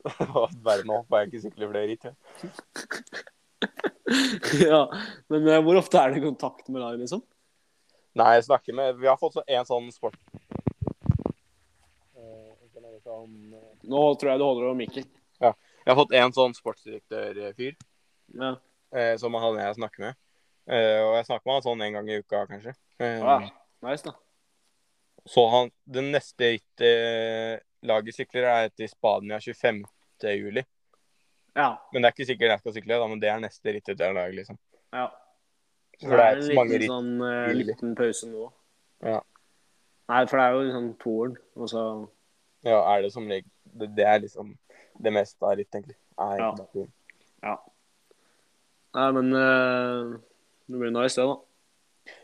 S1: Verden nå får jeg ikke sykle flere ritt. jeg.
S2: ja, men eh, hvor ofte er det kontakt med laget, liksom?
S1: Nei, jeg snakker med Vi har fått så- en sånn sport... Eh, ikke noe sånn, eh,
S2: Nå tror jeg du holder over mikken.
S1: Jeg har fått en sånn sportsdirektørfyr
S2: Ja.
S1: eh, som han jeg snakker med. Eh, og jeg snakker med han sånn en gang i uka, kanskje. Eh,
S2: Ja, ah, nice, da.
S1: Så han Det neste rittet eh, laget sykler, er etter Spania 25. juli.
S2: Ja.
S1: Men det er ikke sikkert jeg skal sykle, da, men det er neste ritt etter laget, liksom.
S2: ja.
S1: For det er ikke så mange ritt.
S2: Sånn, eh, liten pause nå.
S1: Ja.
S2: Nei, for det er jo liksom toeren, og så
S1: Ja, er det som regel Det, det er liksom det meste av ritt, egentlig. Er
S2: Ja.
S1: egentlig-
S2: Ja. Nei, men eh, det blir nice, det, da.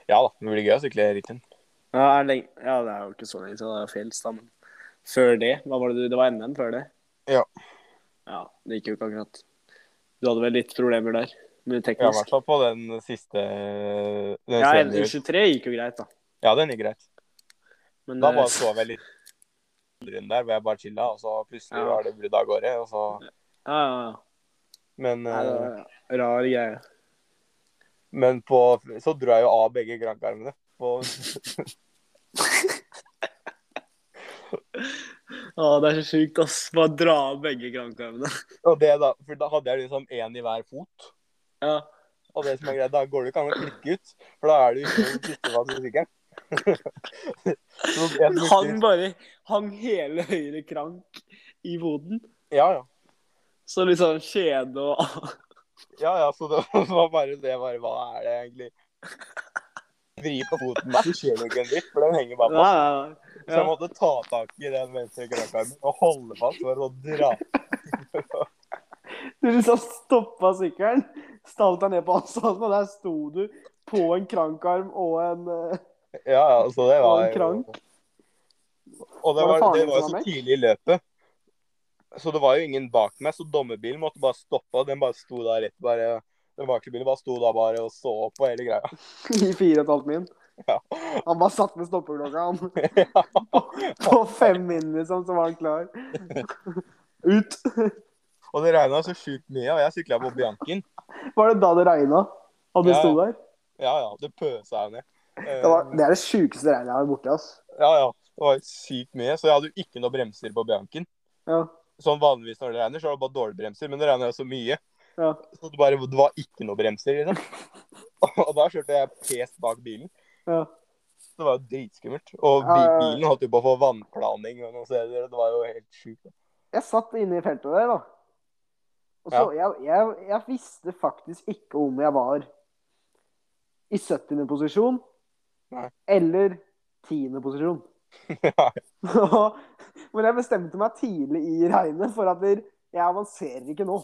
S1: ja da, det blir gøy å sykle ritten.
S2: Ja, er det lenge... ja, det er jo ikke så lenge siden det er fjells, da, men før det hva var det, du- det var NM før det?
S1: Ja.
S2: Ja, Det gikk jo ikke akkurat. Du hadde vel litt problemer der, men
S1: Ja, i hvert
S2: teknisk.
S1: fall på den siste den
S2: Ja,
S1: senere-
S2: U23 gikk jo greit, da.
S1: ja, den er greit.
S2: Men
S1: Da
S2: eh,
S1: bare sov jeg litt rundt der, hvor jeg bare chilla, og så plutselig
S2: Ja.
S1: var det brudd av gårde. Og så,
S2: ja, ja, ja.
S1: men,
S2: Nei,
S1: eh,
S2: det var rar greie.
S1: men på Så dro jeg jo av begge krankarmene. På,
S2: Å, det er så sjukt, ass. Bare dra av begge krankarmene.
S1: og det da, for da hadde jeg liksom én i hver fot.
S2: Ja.
S1: Og det som er greit, da går det ikke an å klikke ut, for da er du ikke den siste fast i sykkelen. Så jeg
S2: Men
S1: brukte-
S2: Han bare hang hele høyre krank i foten.
S1: Ja, ja.
S2: Så liksom kjede og
S1: Ja, ja, så det var bare det. Bare, hva er det egentlig? Vri på foten, men så skjer det jo ikke en dritt, for den henger
S2: Nei,
S1: bare på.
S2: nei,
S1: Så jeg
S2: nei.
S1: måtte ta tak i den venstre krakarmen og holde fast for å dra.
S2: Ja. Du liksom stoppa sykkelen, stalt deg ned på asfalten, og der sto du på en krankarm og en eh,
S1: Ja, ja, så det var
S2: Og en krank.
S1: Og det
S2: Var det
S1: var,
S2: faren
S1: det
S2: din
S1: var jo
S2: som var
S1: så
S2: med?
S1: tidlig i løpet. Så det var jo ingen bak meg, så dommerbilen måtte bare stoppe, og den bare sto der rett bare Den bakre bilen bare sto da bare og så på hele greia.
S2: I fire og et halvt min.
S1: Ja.
S2: Han bare satt med stoppeklokka, han. På fem min, liksom, så var han klar. Ut.
S1: Og det regna så sjukt mye, og jeg sykla på Bianchen.
S2: Var det da det regna? Og du
S1: Ja,
S2: sto
S1: ja.
S2: der?
S1: Ja ja, det pøsa jo ned. Eh,
S2: Det, var, det er det sjukeste regnet jeg har vært borti, ass.
S1: Ja ja, det var sykt mye. Så jeg hadde jo ikke noe bremser på Bianchen.
S2: Ja.
S1: Sånn vanligvis når det regner, så er det bare dårlige bremser, men det regna jo så mye.
S2: Ja.
S1: Så det, bare, det var ikke noe bremser, liksom. Og da kjørte jeg pest bak bilen.
S2: ja.
S1: Det var jo dritskummelt. Og
S2: Ja, ja, ja.
S1: bilen holdt jo på å få vannplaning og noen steder. og Det var jo helt sjukt.
S2: Jeg satt inne i feltet der, da. Og så jeg, jeg, jeg visste faktisk ikke om jeg var i 70. posisjon
S1: Nei.
S2: eller 10. posisjon.
S1: Ja.
S2: Men jeg bestemte meg tidlig i regnet for at jeg avanserer ikke nå.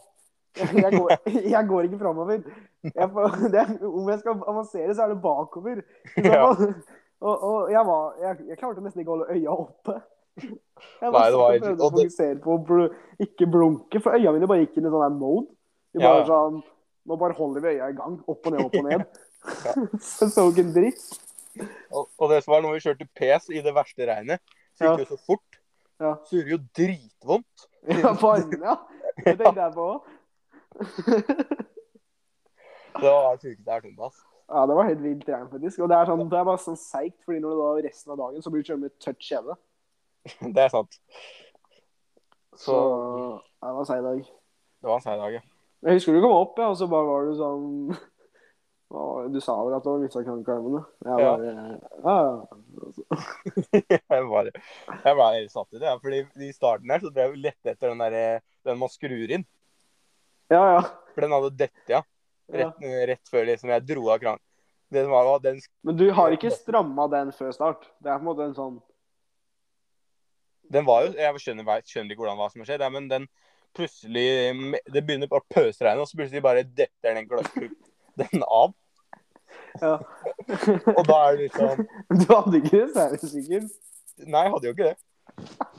S2: Jeg går, jeg går ikke framover. Jeg, får- det, om jeg skal avansere, så er det bakover. I så
S1: Ja.
S2: fall. Og, og jeg, var, jeg, jeg klarte nesten ikke å holde øya oppe. Jeg
S1: Nei, det var
S2: satt og
S1: helt-
S2: prøvde å
S1: og det-
S2: fokusere på å bl- ikke blunke, for øya mine bare gikk inn i sånn der mode. De bare
S1: Ja.
S2: sånn, Nå bare holder vi øya i gang. Opp og ned, opp og ned. så jeg så ikke en dritt.
S1: Og, og det som var når vi kjørte pes i det verste regnet, så gikk det jo så fort.
S2: Ja.
S1: Så gjorde det jo dritvondt.
S2: Ja, på armene, ja. Det tenkte jeg på òg.
S1: Det var det sjukeste jeg har hørt om. ass.
S2: Ja, det var helt vilt regn, faktisk. Og det er, sånn, det er bare sånn seigt, fordi når du da resten av dagen så blir du kjørt med tørt kjeve.
S1: Det er sant.
S2: Så
S1: Så
S2: ja, det var seig dag.
S1: det var en seig dag, ja.
S2: Jeg husker du kom opp, ja, og så bare var du sånn Hva var det? Du sa vel at det var sånn mista krankarmene? Jeg
S1: Ja.
S2: bare Ja, ja.
S1: Jeg bare, jeg bare helt satt i det. ja, Fordi I starten her så drev vi lette etter den, der, den man skrur inn.
S2: ja, ja.
S1: For den hadde dette, ja.
S2: Ja.
S1: Rett, rett før liksom, jeg dro av kranen. Det som var, var at den
S2: Men du har ikke stramma den før start? Det er på en måte en sånn
S1: Den var jo, Jeg skjønner, vet- skjønner ikke hvordan hva som har skjedd, ja, men den plutselig Det begynner bare å pøsregne, og så plutselig bare detter den gløtten den av.
S2: Ja.
S1: Og da er det liksom
S2: Du hadde ikke reserve, sikkert?
S1: Nei, jeg hadde jo ikke det.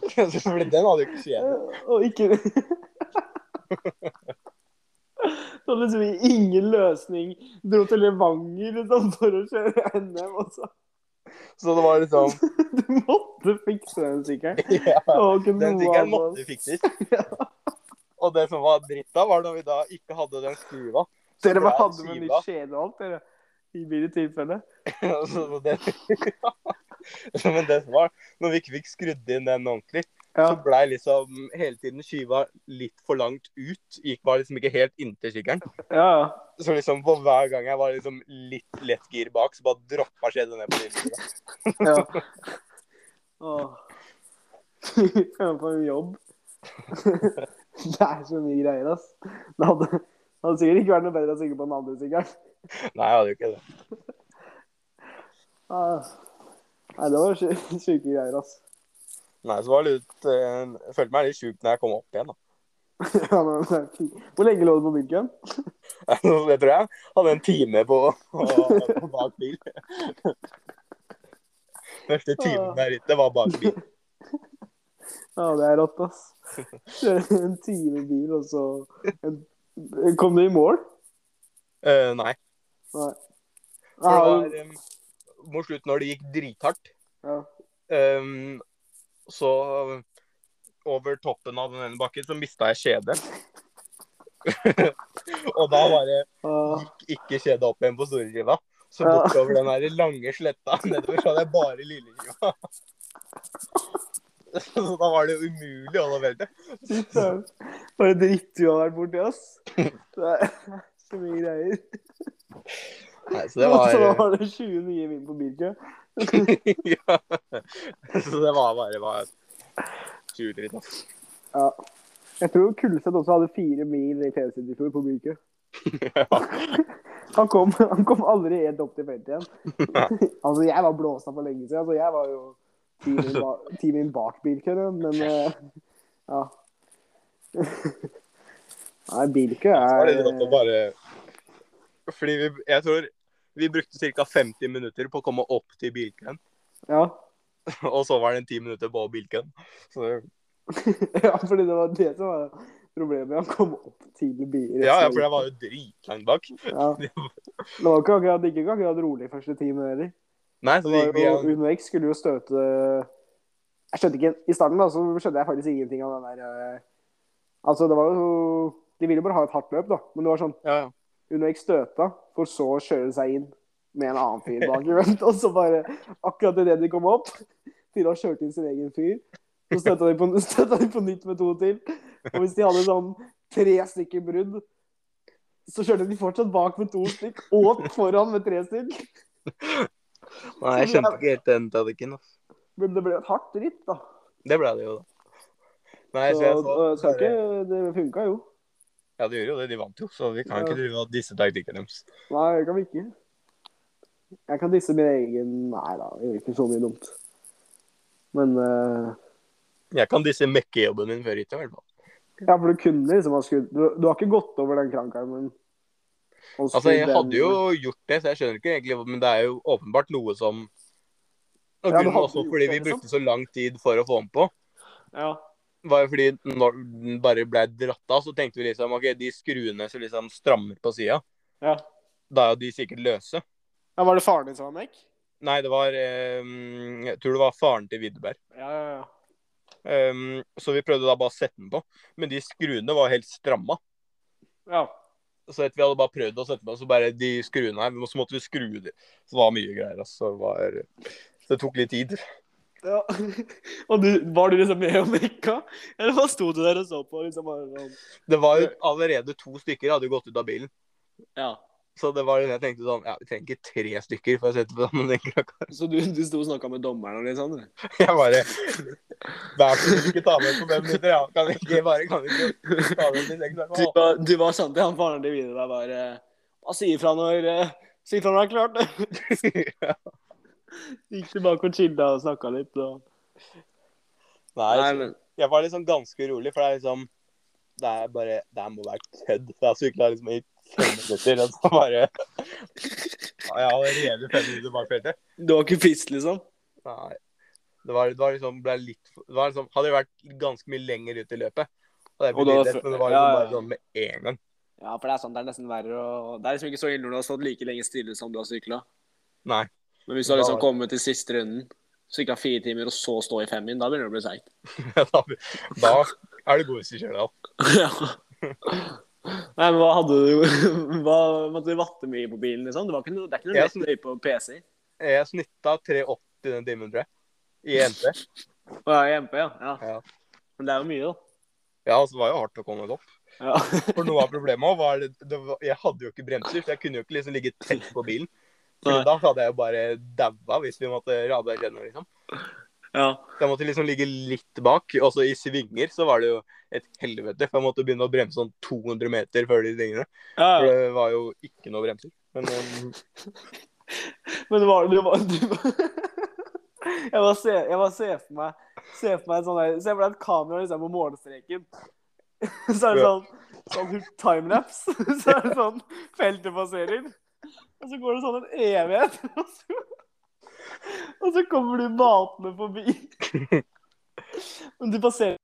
S1: Fordi den hadde jo ikke skjedd.
S2: Eh, Og ikke Du hadde liksom ingen løsning. Dro til Levanger liksom, for å kjøre NM, og så
S1: Så det var liksom
S2: Du måtte fikse den sykkelen.
S1: ja,
S2: Og ikke
S1: Den
S2: noe
S1: sykkelen
S2: annet.
S1: måtte fikses. Og det som var dritt da, var når vi da ikke hadde den skruva.
S2: Dere
S1: ble
S2: bare hadde med
S1: skiva.
S2: nytt skjede og alt, dere. I mine tilfelle.
S1: Altså, Så det, men det som var, når vi ikke fikk skrudd inn den ordentlig,
S2: Ja.
S1: så blei liksom hele tiden skyva litt for langt ut. Gikk var liksom ikke helt inntil sykkelen.
S2: ja. ja.
S1: Så liksom på hver gang jeg var liksom litt lett gir bak, så bare droppa skjedet ned på dyrsida.
S2: ja. Åh. Kjøre på en jobb. det er så mye greier, ass. Det hadde, det hadde sikkert ikke vært noe bedre å synge på den andre sykkelen.
S1: Nei, jeg hadde jo ikke det.
S2: Ah. Nei, det var sju- sjuke greier, ass.
S1: Nei, så var det litt eh, Jeg følte meg litt sjuk når jeg kom opp igjen, da.
S2: Ja, men det er fint. Hvor lenge lå du på byggen?
S1: Det tror jeg. Hadde en time på, på bak bil. Første timen der ute var bak bil.
S2: Ja, det er rått, ass. Kjøre en time i bil, og så en... Kom du i mål?
S1: Eh, nei.
S2: Nei.
S1: For det
S2: Ja,
S1: var eh, mot slutten, når det gikk drithardt,
S2: ja.
S1: Ehm, så over toppen av den ene bakken så mista jeg kjedet. og da bare
S2: Ah.
S1: gikk ikke kjedet opp igjen på storeskiva. Så
S2: Ja.
S1: bortover den her lange sletta nedover så hadde jeg bare lilleskiva. så da var det jo umulig å holde velte.
S2: Fy søren. Bare dritt du har vært borti, ass. Det er så mye greier.
S1: Nei, Så det var
S2: Og så var det 20 nye vinn på bilkø.
S1: ja. Så det var bare var sjukt dritt, ass.
S2: Ja. Jeg tror Kulseth også hadde fire mil i tv i fjor på bilkø. Han kom, han kom aldri helt opp til feltet igjen. altså, jeg var blåst av for lenge siden. Altså, jeg var jo ti min, ba ti min bak bilkøen, men eh, ja. Nei, bilkø
S1: Så var det litt
S2: er
S1: å bare Fordi vi, jeg tror vi brukte ca. 50 minutter på å komme opp til bilkøen.
S2: eh, Ja.
S1: Og så var det 10 minutter på bilkøen. Så
S2: Ja, fordi det var det som var Problemet er at han kom opp tidlig bil.
S1: Ja, ja, for jeg var jo dritlangt bak.
S2: Ja. Det var ikke akkurat, det gikk ikke akkurat rolig første timen heller.
S1: Nei, så
S2: Det
S1: det
S2: var
S1: gikk
S2: jo,
S1: vi
S2: Uno X skulle jo støte Jeg skjønte ikke, I starten da, så skjønte jeg faktisk ingenting av den der eh, Altså, det var jo De ville jo bare ha et hardt løp, da. Men det var sånn
S1: ja, ja.
S2: Uno X støta, for så å kjøre seg inn med en annen fyr bak. i vent, Og så bare Akkurat idet de kom opp, til å ha kjørt inn sin egen fyr, så støtta de, på, støtta de på nytt med to til. Og hvis de hadde sånn tre stykker brudd, så kjørte de fortsatt bak med to stykk, og foran med tre stykk.
S1: Nei, jeg skjønte ikke helt den taktikken. ass.
S2: Men det ble et hardt ritt, da.
S1: Det ble det jo, da. Nei, så jeg
S2: Så,
S1: så,
S2: øh, skal ikke, det funka jo.
S1: Ja, det gjør jo det. De vant jo, så vi kan
S2: Ja.
S1: ikke drive og disse taktikkene deres.
S2: Nei, det kan vi ikke. Jeg kan disse min egen Nei da, jeg gjør ikke så mye dumt. Men øh,
S1: Jeg kan disse mekkejobben min før hytta, i hvert fall.
S2: Ja, for du kunne liksom ha skutt du, du har ikke gått over den krankarmen? Og
S1: Altså,
S2: skutt
S1: jeg
S2: den-
S1: hadde jo gjort det, så jeg skjønner ikke egentlig Men det er jo åpenbart noe som Og
S2: Ja, du
S1: grunnen
S2: hadde
S1: også
S2: gjort
S1: fordi vi
S2: det, liksom.
S1: brukte så lang tid for å få den på,
S2: Ja.
S1: var jo fordi når den bare ble dratt av, så tenkte vi liksom OK, de skruene som liksom strammer på sida,
S2: ja.
S1: da er jo de sikkert løse.
S2: Ja, Var det faren din som var mekk?
S1: Nei, det var eh, Jeg tror det var faren til Widerberg.
S2: Ja, ja, ja.
S1: Um, så vi prøvde da bare å sette den på. Men de skruene var helt stramma.
S2: Ja,
S1: Så etter vi hadde bare prøvd å sette den på, så bare de skruene her, så måtte vi skru de. Så det var mye greier, altså. Det, var, det tok litt tid.
S2: ja. Og du, var du liksom med og mekka? Eller hva sto du der og så på? liksom bare sånn?
S1: Det var jo allerede to stykker hadde jo gått ut av bilen.
S2: Ja.
S1: Så det var jo det jeg tenkte sånn Ja, vi trenger ikke tre stykker for å sette på sammen den klokka.
S2: Så du, du sto og snakka med dommeren og litt sånn? eller?
S1: Jeg bare Vær så snill, ikke ta med på fem minutter. Ja, kan vi ikke bare Kan vi ikke ta med til seks? da?
S2: Du var, du var sånn til han faren til Vidar der bare Hva sier fra når eh, Si fra når det er klart! Gikk tilbake og chilla og snakka litt. Og...
S1: Nei, så- jeg var liksom ganske urolig, for det er liksom Det er bare Det her må være kødd. For jeg sykla liksom i fem minutter, og så bare Ja, jeg har allerede fem minutter bak feltet.
S2: Du var ikke fisk, liksom?
S1: Nei. Det var, det var liksom ble litt for- det var liksom, Hadde det vært ganske mye lenger ut i løpet og det
S2: Og da-
S1: blitt lett, men det var liksom
S2: ja, ja.
S1: bare sånn med en gang.
S2: Ja, for det er sånn, det er nesten verre å Det er liksom ikke så ille når du har stått like lenge stille som du har sykla.
S1: Nei.
S2: Men hvis du har liksom
S1: Da-
S2: kommet til siste runden, sykla fire timer og så stå i femmin, da begynner det å bli seigt.
S1: Da, da er du god hvis du kjører deg opp.
S2: Ja. Nei, men hva hadde du hva, Måtte du vatte mye på bilen, liksom? Det, var ikke noe, det er ikke noe
S1: Jeg
S2: lett løye på PC.
S1: Jeg snitta 3,80 den timen, tror jeg. I NT.
S2: Å ja, i MP, ja. ja.
S1: Ja.
S2: Men det er jo mye,
S1: Ja, altså, det var jo hardt å komme seg opp.
S2: da. Ja.
S1: For noe av problemet også var det, det var, Jeg hadde jo ikke bremser, så jeg kunne jo ikke liksom ligge tett på bilen. For
S2: Nei.
S1: da hadde jeg jo bare daua hvis vi måtte rade gjennom, liksom.
S2: ja.
S1: Så jeg måtte liksom ligge litt bak. Også i svinger så var det jo et helvete, for jeg måtte begynne å bremse sånn 200 meter før de svingene.
S2: ja,
S1: For
S2: ja.
S1: det var jo ikke noe bremser. Men um,
S2: Men det var, det var, det var Jeg bare ser, jeg bare ser for meg Se for meg, en sånn der, se for deg et kamera liksom, på målestreken. Så er det
S1: Ja.
S2: sånn, sånn timelapse. Så er det sånn feltet passerer. Og så går det sånn en evighet. Og så, og så kommer du matende forbi. Men du passerer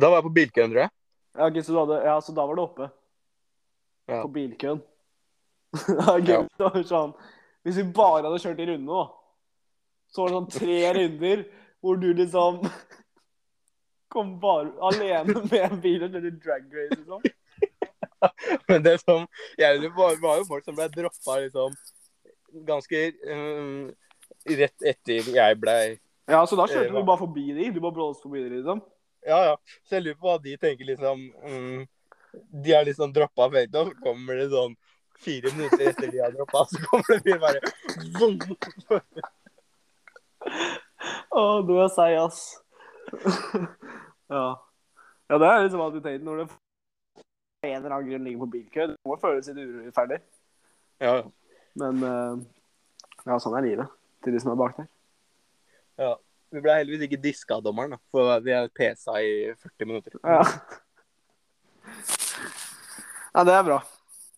S1: da var jeg på bilkøen, tror jeg.
S2: ja, ok, så, du hadde, ja, så da var det oppe.
S1: Ja.
S2: På bilkøen. ja, ok,
S1: Ja.
S2: det var sånn, hvis vi bare hadde kjørt i runde nå, så var det sånn tre runder hvor du liksom kom bare alene med en bil og kjørte drag race, liksom.
S1: Men det som jeg, det var, var jo folk som ble droppa liksom ganske um, rett etter jeg blei
S2: Ja, så da
S1: kjørte du
S2: kjørte du bare forbi de. Du bare blåste forbi de, liksom.
S1: Ja, ja. Så jeg lurer på hva de tenker, liksom. Mm, de har liksom droppa feltet, og så kommer det sånn fire minutter etter de har droppa, så kommer det mye bare Vum!
S2: Å, du er seig, ass. ja. Ja, det er liksom alltid tenkt når det av en eller annen grunn ligger på bilkø. Det må føles litt urettferdig.
S1: Ja, ja.
S2: Men eh, ja, sånn er livet til de som er bak der.
S1: Vi ble heldigvis ikke diska av dommeren, da, for vi har pesa i 40 minutter.
S2: Ja. ja, det er bra.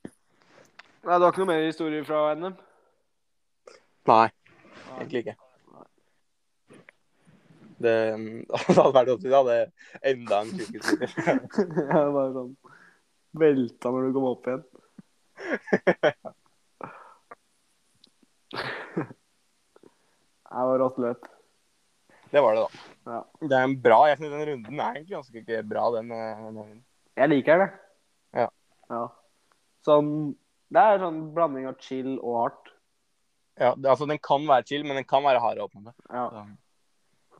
S2: Nei, Du har ikke noe mer historie fra NM?
S1: Nei, egentlig ikke. Det, det hadde vært godt hvis jeg hadde enda en sykkeltur.
S2: Jeg var sånn velta når du kom opp igjen. Det var rått løp.
S1: Det var det, da.
S2: Ja.
S1: Det er en bra, jeg synes Den runden er egentlig ganske ikke bra, den. eh, den runden.
S2: Jeg liker det.
S1: Ja.
S2: ja. Sånn Det er sånn blanding av chill og hardt.
S1: Ja, det, altså, den kan være chill, men den kan være hard. åpen.
S2: Ja.
S1: Ja.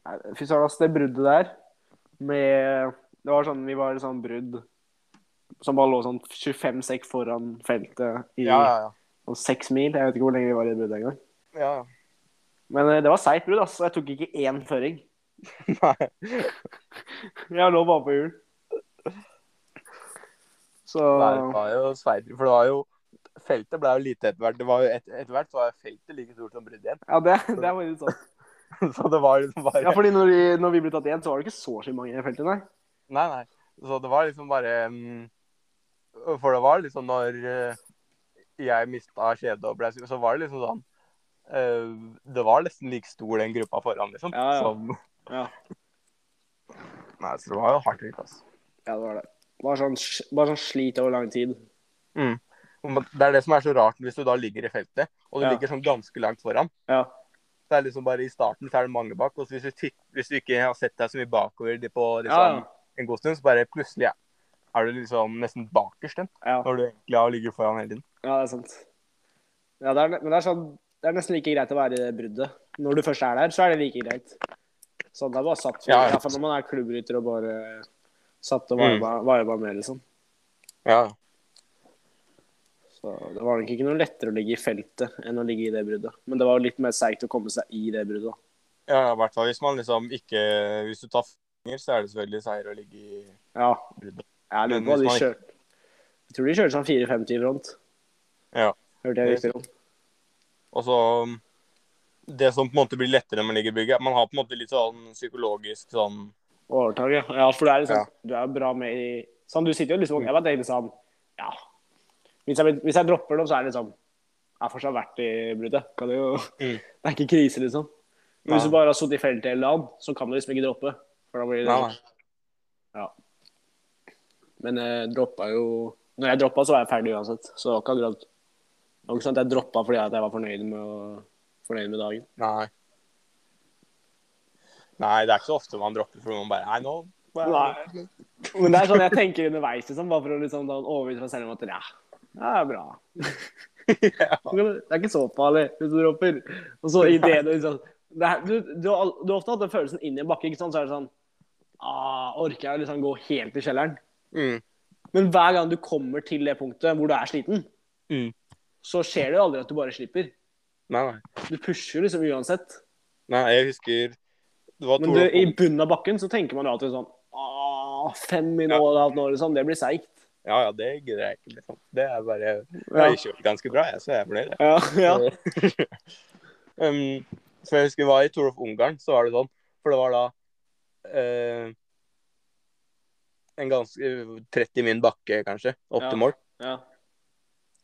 S2: Nei, Fy søren, ass, det bruddet der med Det var sånn Vi var i sånn brudd som bare lå sånn 25 sekk foran feltet i
S1: Ja, ja, ja.
S2: sånn seks mil. Jeg vet ikke hvor lenge vi var i det bruddet engang.
S1: ja, ja.
S2: Men eh, det var seigt brudd, altså. Jeg tok ikke én føring.
S1: Nei.
S2: Jeg lå bare på hjul. Så
S1: Det var jo sveiper, for det var jo Feltet ble jo lite etter hvert. Det var jo et, etter hvert så var jo feltet like stort som bruddet igjen.
S2: Ja, det, det er faktisk sant.
S1: Så det var liksom bare
S2: Ja, fordi når vi, når vi ble tatt igjen, så var det ikke så så mange i det feltet, nei.
S1: Nei, nei. Så det var liksom bare mm, For det var liksom når eh, jeg mista kjedet og ble sur, så var det liksom sånn eh, Det var nesten like stor den gruppa foran, liksom.
S2: Ja, ja.
S1: Som,
S2: Ja.
S1: nei, så det var jo hardt litt, altså.
S2: Ja, det var det. Bare sånn, sj- bare sånn slit over lang tid.
S1: Mm. Men Det er det som er så rart hvis du da ligger i feltet, og du
S2: Ja.
S1: ligger sånn ganske langt foran.
S2: Ja.
S1: Det er liksom bare I starten så er det mange bak. og så hvis du, titt- hvis du ikke har sett deg så mye bakover de på liksom,
S2: Ja, ja.
S1: en god stund, så bare plutselig er- er du liksom nesten bakerst den,
S2: Ja,
S1: når du egentlig har ligget foran hele tiden.
S2: ja det er sant. Ja, det er, ne- men det er, sånn, det er nesten like greit å være i det bruddet. Når du først er der, så er det like greit. Sånn, det er bare satt for,
S1: Ja, Mm.
S2: ja,
S1: ja.
S2: for når man er klubbryter og bare satt og viba viba med, liksom.
S1: Ja.
S2: Så det var nok ikke noe lettere å ligge i feltet enn å ligge i det bruddet. Men det var jo litt mer seigt å komme seg i det bruddet, da.
S1: ja, i hvert fall hvis man liksom ikke Hvis du tar fanger, så er det selvfølgelig seier å ligge i
S2: Ja,
S1: bruddet.
S2: jeg lurer på hva de kjørte. Jeg tror de kjørte sånn 4-50 i front.
S1: Ja.
S2: Hørte jeg riktig om.
S1: Og så um, Det som på en måte blir lettere når man ligger i bygget, er at man har på en måte litt sånn psykologisk sånn
S2: Overtak, ja. ja. For det er liksom,
S1: Ja. Mm.
S2: du er jo bra med i Sånn, du sitter jo liksom Jeg var egentlig sånn Ja. Hvis jeg, hvis jeg dropper dem, så er det liksom Jeg har fortsatt vært i bruddet. Kan det jo
S1: Mm.
S2: Det er ikke krise, liksom. Men hvis
S1: Nei.
S2: du bare har sittet i feltet hele dagen, så kan du liksom ikke droppe. For da blir det
S1: Nei, nei.
S2: Ja. Men jeg droppa jo Når jeg droppa, så var jeg ferdig uansett. Så det var ikke akkurat Det var ikke sånn at jeg droppa fordi at jeg var fornøyd med, å- fornøyd med dagen.
S1: Nei. Nei, det er ikke så ofte man dropper fordi man bare Nei, nå
S2: Nei. Men det er sånn jeg tenker underveis, liksom, bare for å liksom, da overbevise meg selv om at ja, det er bra.
S1: Ja.
S2: Det er ikke så farlig hvis du dropper. Og så i det du liksom det er, du, du, har, al- du har ofte hatt den følelsen inni en bakke, ikke sant? så er det sånn ah, Orker jeg å liksom gå helt i kjelleren?
S1: Mm.
S2: Men hver gang du kommer til det punktet hvor du er sliten,
S1: Mm.
S2: så skjer det jo aldri at du bare slipper.
S1: Nei, nei.
S2: Du pusher jo liksom uansett.
S1: Nei, jeg husker Det var
S2: Men du,
S1: Tore
S2: i
S1: Håkon.
S2: bunnen av bakken så tenker man jo alltid sånn ah, Fem i nå og et halvt år, liksom. Det blir seigt.
S1: Ja, ja, det gidder jeg ikke. Liksom. Det er bare Jeg
S2: Ja.
S1: har kjørt ganske bra, jeg, så jeg er fornøyd. jeg.
S2: Ja, ja.
S1: um, så jeg husker det var i Torolf Ungarn, så var det sånn. For det var da eh, en ganske 30 min bakke, kanskje, opp
S2: Ja.
S1: til mål.
S2: ja.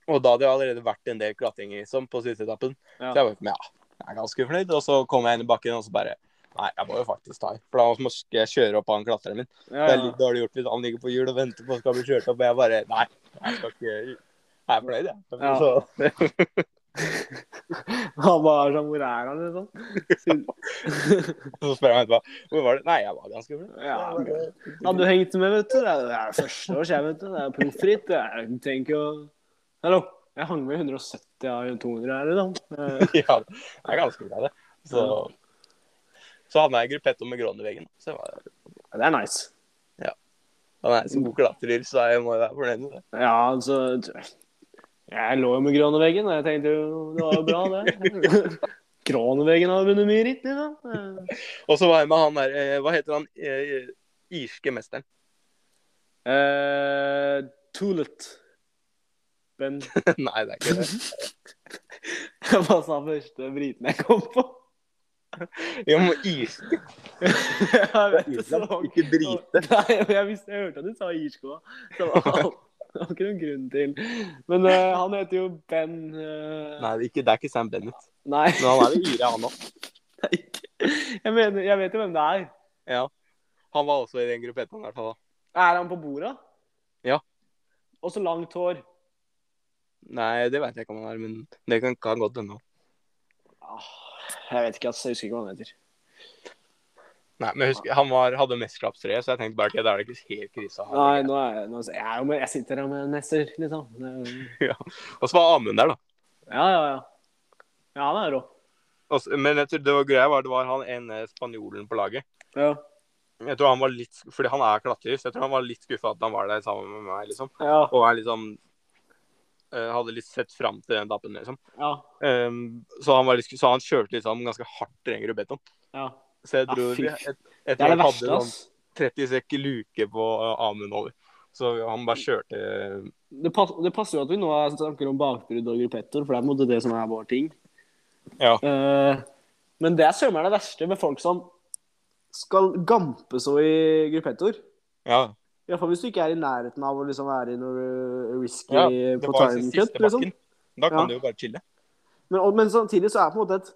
S1: Og da hadde jeg allerede vært en del klatring i som på siste etappen.
S2: Ja.
S1: Så jeg var ja, jeg er ganske fornøyd. Og så kom jeg inn i bakken, og så bare Nei, jeg må jo faktisk ta i. For da må jeg kjøre opp han klatreren min.
S2: Ja,
S1: Det er
S2: ja.
S1: litt dårlig gjort hvis han ligger på hjul og venter på å skal bli kjørt opp, og jeg bare Nei, jeg skal ikke Jeg er fornøyd, jeg.
S2: Ja.
S1: Så,
S2: Han var sånn Hvor er han, liksom? Siden-
S1: så spør han etterpå hvor var det Nei, jeg var ganske fornøyd.
S2: Ja, Hadde du hengt med, vet du? Det er- det er første års, jeg, vet du. Det er proffritt. Jeg tenker jo Hallo. Jeg hang med 170 av 200 her i dag. Eh,
S1: Ja, det er ganske bra, det. Så, så havna jeg i gruppetto med Gråneveggen. Så jeg var,
S2: Det er nice.
S1: han er så god klatrer, så jeg må jo være fornøyd med det.
S2: Ja, altså Jeg lå jo med Graneveggen, og jeg tenkte jo det var jo bra, det. Graneveggen har vunnet mye ritt, liksom.
S1: Og så var jeg med han der eh, Hva heter han eh, irske mesteren?
S2: Eh, Tulet. Ben
S1: Nei, det er ikke det.
S2: Jeg bare sa første briten jeg kom på.
S1: Jo, men irske
S2: Jeg vet det, så
S1: Irland, ikke brite.
S2: Nei, men jeg, visste, jeg hørte at du sa irsk òg. Det var alt- det var ikke noen grunn til. Men eh, han heter jo Ben eh,
S1: Nei, det er ikke, det er ikke Sam Bennett.
S2: Nei.
S1: Men han er jo ire, han òg.
S2: det er ikke. Jeg, mener, jeg vet jo hvem det er.
S1: Ja. Han var også i den gruppetta, i hvert fall. da.
S2: Er han på bordet?
S1: Ja.
S2: Og så langt hår.
S1: Nei, det veit jeg ikke om han er, men det kan kan godt hende.
S2: Ah, Jeg vet ikke, ass. Jeg husker ikke hva han heter.
S1: Nei, men husk, han var, hadde mesterskapstre, så jeg tenkte bare ok, da er det ikke helt krise. å ha
S2: Nei,
S1: det.
S2: nå er jeg, nå, jeg, er jo med, jeg sitter her med en mester, liksom. Det-
S1: Og så var Amund der, da.
S2: Ja, ja, ja. Ja, han er rå.
S1: Og så- men jeg tror det var greia var det var han ene spanjolen på laget.
S2: Ja.
S1: Jeg tror han var litt, Fordi han er klatrer, så jeg tror han var litt skuffa at han var der sammen med meg. liksom.
S2: Ja.
S1: Og jeg liksom eh, hadde litt sett fram til den dappen, liksom.
S2: ja,
S1: Ehm, så, han var litt, sku- så han kjørte liksom ganske hardt terreng i Rubeton.
S2: ja.
S1: Så jeg
S2: Ah,
S1: tror
S2: fy.
S1: vi jeg, jeg
S2: Det
S1: tror
S2: er
S1: han
S2: det
S1: hadde
S2: verste,
S1: sånn
S2: ass.
S1: 30 sekk luke på eh, Amund over. Så han bare kjørte
S2: Det, pass, det passer jo at vi nå snakker om bakbrudd og gruppetter, for det er på en måte det som er vår ting.
S1: Ja.
S2: Eh, men det er søren meg det verste med folk som skal gampe så i gruppettor.
S1: ja.
S2: Iallfall hvis du ikke er i nærheten av å liksom være i noe eh, risky
S1: Ja, altså
S2: på time cut. Liksom.
S1: Da kan
S2: Ja.
S1: du jo bare chille.
S2: Men, og, men samtidig så er på en måte et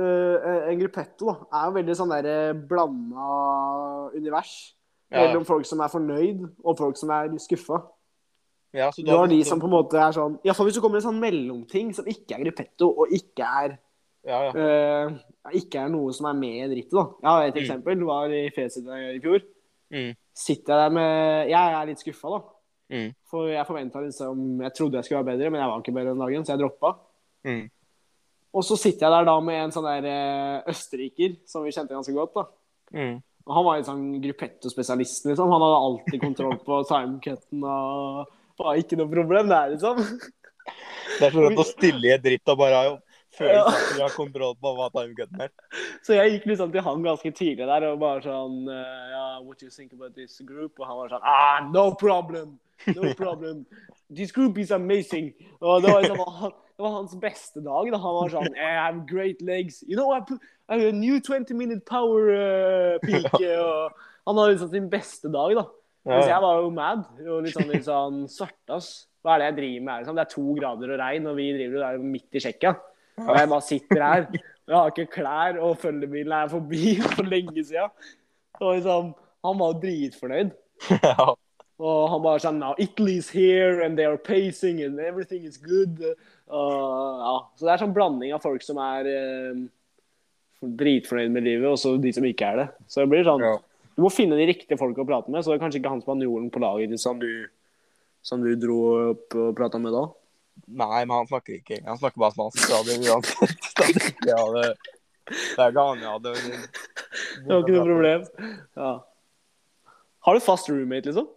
S2: øh, En gruppetto da, er jo veldig sånn der blanda univers.
S1: Ja.
S2: Mellom folk som er fornøyd, og folk som er skuffa.
S1: Ja, så
S2: Du har de som på en måte er sånn Iallfall hvis du kommer i en sånn mellomting som ikke er gruppetto, og ikke er
S1: ja, ja.
S2: øh, ikke er noe som er med i drittet, da. Jeg har et
S1: Mm.
S2: eksempel. Var i Fesid i fjor.
S1: Mm.
S2: Sitter jeg der med Jeg er litt skuffa, da.
S1: Mm.
S2: For jeg forventa liksom Jeg trodde jeg skulle være bedre, men jeg var ikke bedre den dagen, så jeg droppa.
S1: Mm.
S2: Og så sitter jeg der da med en sånn der eh, østerriker som vi kjente ganske godt. da.
S1: Mm.
S2: Og Han var en sånn gruppetto-spesialist, liksom. Han hadde alltid kontroll på timecutten og var ikke noe problem der, liksom.
S1: Det er så rart å stille i et dritt og bare ha følelsen
S2: Ja.
S1: at du har kontroll på hva timecuten er.
S2: Så jeg gikk liksom til han ganske tidlig der og bare sånn eh, ja, What do you think about this group? Og han var sånn Ah, no problem! No problem! This group is amazing! Og det var liksom han, det var hans beste dag. da Han var sånn I have great legs. You know, I, put, I have a new 20 minute power eh, peak. Og han har liksom sin beste dag, da. Mens jeg var jo mad og litt sånn, litt sånn svartass. Hva er det jeg driver med? her, Liksom? Det er to grader og regn, og vi driver jo der midt i Tsjekkia. Og jeg bare sitter her. og Jeg har ikke klær, og følgebilen er forbi for lenge siden. Og liksom, han var jo dritfornøyd.
S1: Ja.
S2: Og han bare sånn Now Italy's here, and they are pacing, and everything is good. Og, ja. Så det er sånn blanding av folk som er eh, dritfornøyd med livet, og så de som ikke er det. Så det blir sånn
S1: Ja.
S2: du må finne de riktige folka å prate med. Så det er kanskje ikke han spanjolen på laget ditt som du, som du dro opp og prata med da.
S1: Nei, men han snakker ikke. Han snakker bare spansk. Så det, uansett. Så det, ikke jeg hadde- det er ikke han jeg hadde
S2: Det var ikke noe problem. Ja. Har du fast roommate, liksom?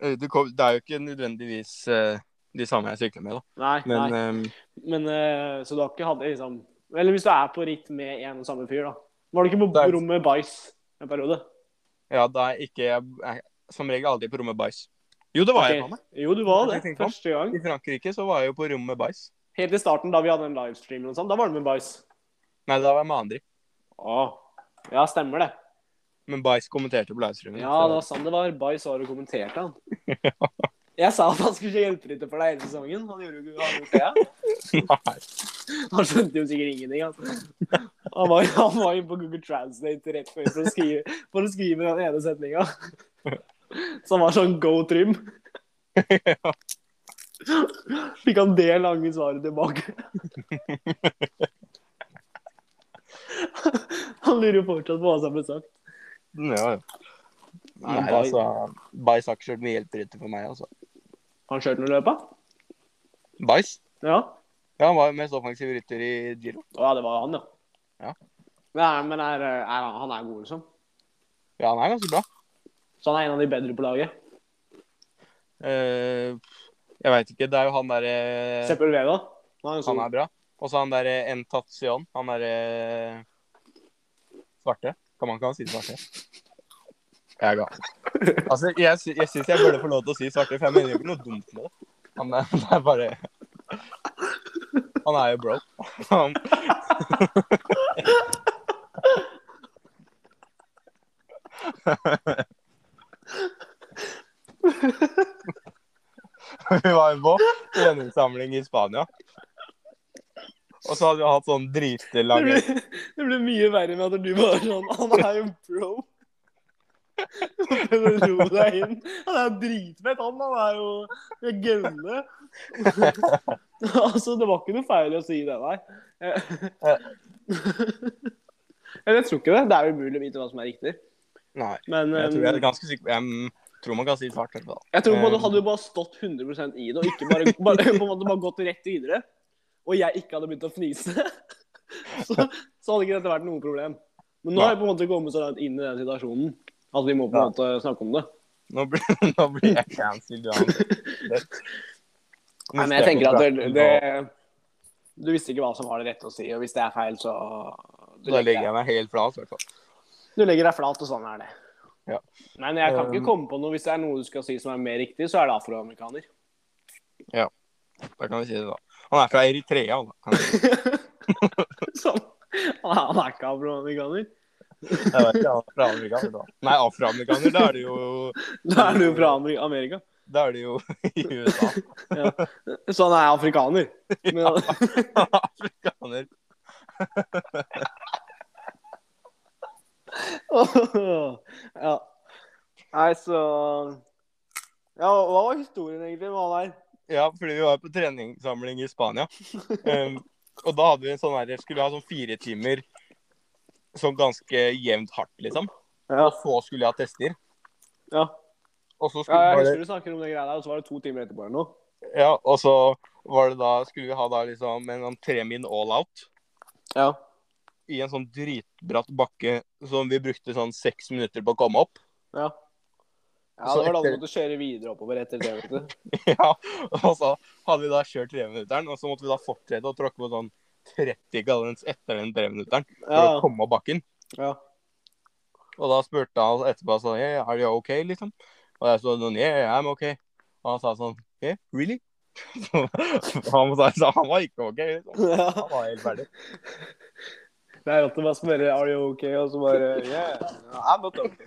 S1: Eh, du kom- Det er jo ikke nødvendigvis eh, de samme jeg sykler med, da.
S2: Nei.
S1: Men
S2: nei.
S1: ehm,
S2: Men, eh, så du har ikke hatt det liksom Eller hvis du er på ritt med en og samme fyr, da. Var du ikke på
S1: Det er-
S2: rommet med Bajs en periode?
S1: ja, da er ikke jeg er Som regel aldri på rommet bæsj. Jo, det var jeg. faen
S2: Ok.
S1: meg.
S2: Jo, du var det.
S1: Jeg tenkte på.
S2: Første gang.
S1: I Frankrike så var jeg jo på rommet bæsj.
S2: Helt i starten, da vi hadde en livestream, og sånn, da var du med Bajs.
S1: Nei, da var jeg med andre.
S2: Åh. Ja, stemmer det.
S1: Men Bajs kommenterte på livestreamen.
S2: Ja, det var sånn det var. Bajs var og kommenterte han. Jeg sa at han skulle hjelpe litt for deg hele sesongen. Han gjorde jo ikke han gjorde ikke det.
S1: Nei.
S2: Han skjønte jo sikkert ingenting. Altså. Han var han var jo på Google Translate rett før for å skrive, for å skrive den ene setninga. Så han var sånn go trim. Fikk han det lange svaret tilbake. Han lurer jo fortsatt på hva som ble sagt.
S1: Ja, ja. Nei,
S2: Nei,
S1: altså, Bajs har ikke kjørt mye hjelperytter for meg, altså.
S2: Har han kjørt noe løp, da?
S1: Bajs?
S2: Ja.
S1: Ja, han var jo mest offensiv rytter i Giro.
S2: Å ja, det var han, ja.
S1: Ja.
S2: Nei, men er, er, han- han er god, liksom.
S1: Ja, han er ganske bra.
S2: Så han er en av de bedre på laget.
S1: Eh, jeg veit ikke, det er jo han derre
S2: Seppel Vega. Han er
S1: Han
S2: en sånn
S1: er bra. Og så han derre Entatsion. Han derre Svarte. Kan man ikke si svarte? Jeg er gal. Altså, jeg, sy jeg syns jeg burde få lov til å si svarte, for jeg mener jo ikke noe dumt med det. Han er, han er bare Han er jo bro. Han, Vi var jo på treningssamling i Spania. Og så hadde vi hatt sånn
S2: Det
S1: dritlange
S2: ble, det ble mye verre med at du bare sånn Han er jo pro. Prøvde å ro deg inn. Han er dritfett, han. Han er jo gønne. altså, det var ikke noe feil å si det, nei. Eh, Eller jeg tror ikke det. Det er jo umulig å vite hva som er riktig.
S1: Nei.
S2: Men
S1: Jeg tror
S2: eh,
S1: jeg er ganske sikker Jeg tror man kan si fart. i hvert fall.
S2: Jeg tror på en måte Hadde du bare stått 100 i det, og ikke bare, bare, på en måte bare gått rett videre, og jeg ikke hadde begynt å fnise, så, så hadde ikke dette vært noe problem. Men nå har jeg på en måte kommet så langt inn i den situasjonen at vi må på en måte snakke om det.
S1: Nå blir, nå blir jeg cancelled uansett.
S2: Nei, men jeg tenker at det, det Du visste ikke hva som var det rette å si, og hvis det er feil, så du
S1: Da legger
S2: deg-
S1: jeg meg helt flat, i hvert fall.
S2: du legger deg flat, og sånn er det.
S1: Ja.
S2: Men jeg kan
S1: Um,
S2: ikke komme på noe. Hvis det er noe du skal si som er mer riktig, så er det afroamerikaner.
S1: Da kan vi si det, da. Han er fra Eritrea, da. Kan vi-
S2: Sånn. Han er ikke afroamerikaner.
S1: Jeg vet ikke, han er fra Amerika, da. Nei, afroamerikaner, da er det jo
S2: Da er du jo fra Amer- Amerika.
S1: Da er det jo i USA.
S2: Så han er afrikaner. Men,
S1: Afrikaner.
S2: ja. Nei, så Ja, hva var historien egentlig med han her?
S1: Ja, fordi vi var på treningssamling i Spania. Um, og da hadde vi en sånn her, skulle vi ha sånn fire timer sånn ganske jevnt hardt, liksom.
S2: Ja,
S1: Og så skulle jeg ha tester.
S2: ja.
S1: Og så
S2: ja
S1: skulle
S2: jeg
S1: var
S2: husker
S1: det,
S2: du snakker om det greia der, og så var det to timer etterpå eller noe.
S1: ja, og så var det da, skulle vi ha da liksom en sånn tre min all out
S2: Ja.
S1: i en sånn dritbratt bakke som vi brukte sånn seks minutter på å komme opp.
S2: ja. Ja,
S1: Så
S2: det var da du
S1: etter-
S2: måtte kjøre videre oppover etter det, vet du.
S1: Ja, og så hadde vi da kjørt treminutteren, og så måtte vi da fortsette å tråkke på sånn 30 gallons etter den treminutteren for å
S2: Ja,
S1: komme opp bakken.
S2: ja.
S1: Og da spurte han etterpå sånn yeah, Are you okay? liksom. Og jeg sa sånn Yeah, I'm okay. Og han sa sånn Yeah, really? Så han, sa, så han var ikke OK. Liksom.
S2: ja.
S1: Han var helt ferdig.
S2: Det er alltid bare å spørre Are you okay? Og så bare Yeah, I'm not okay.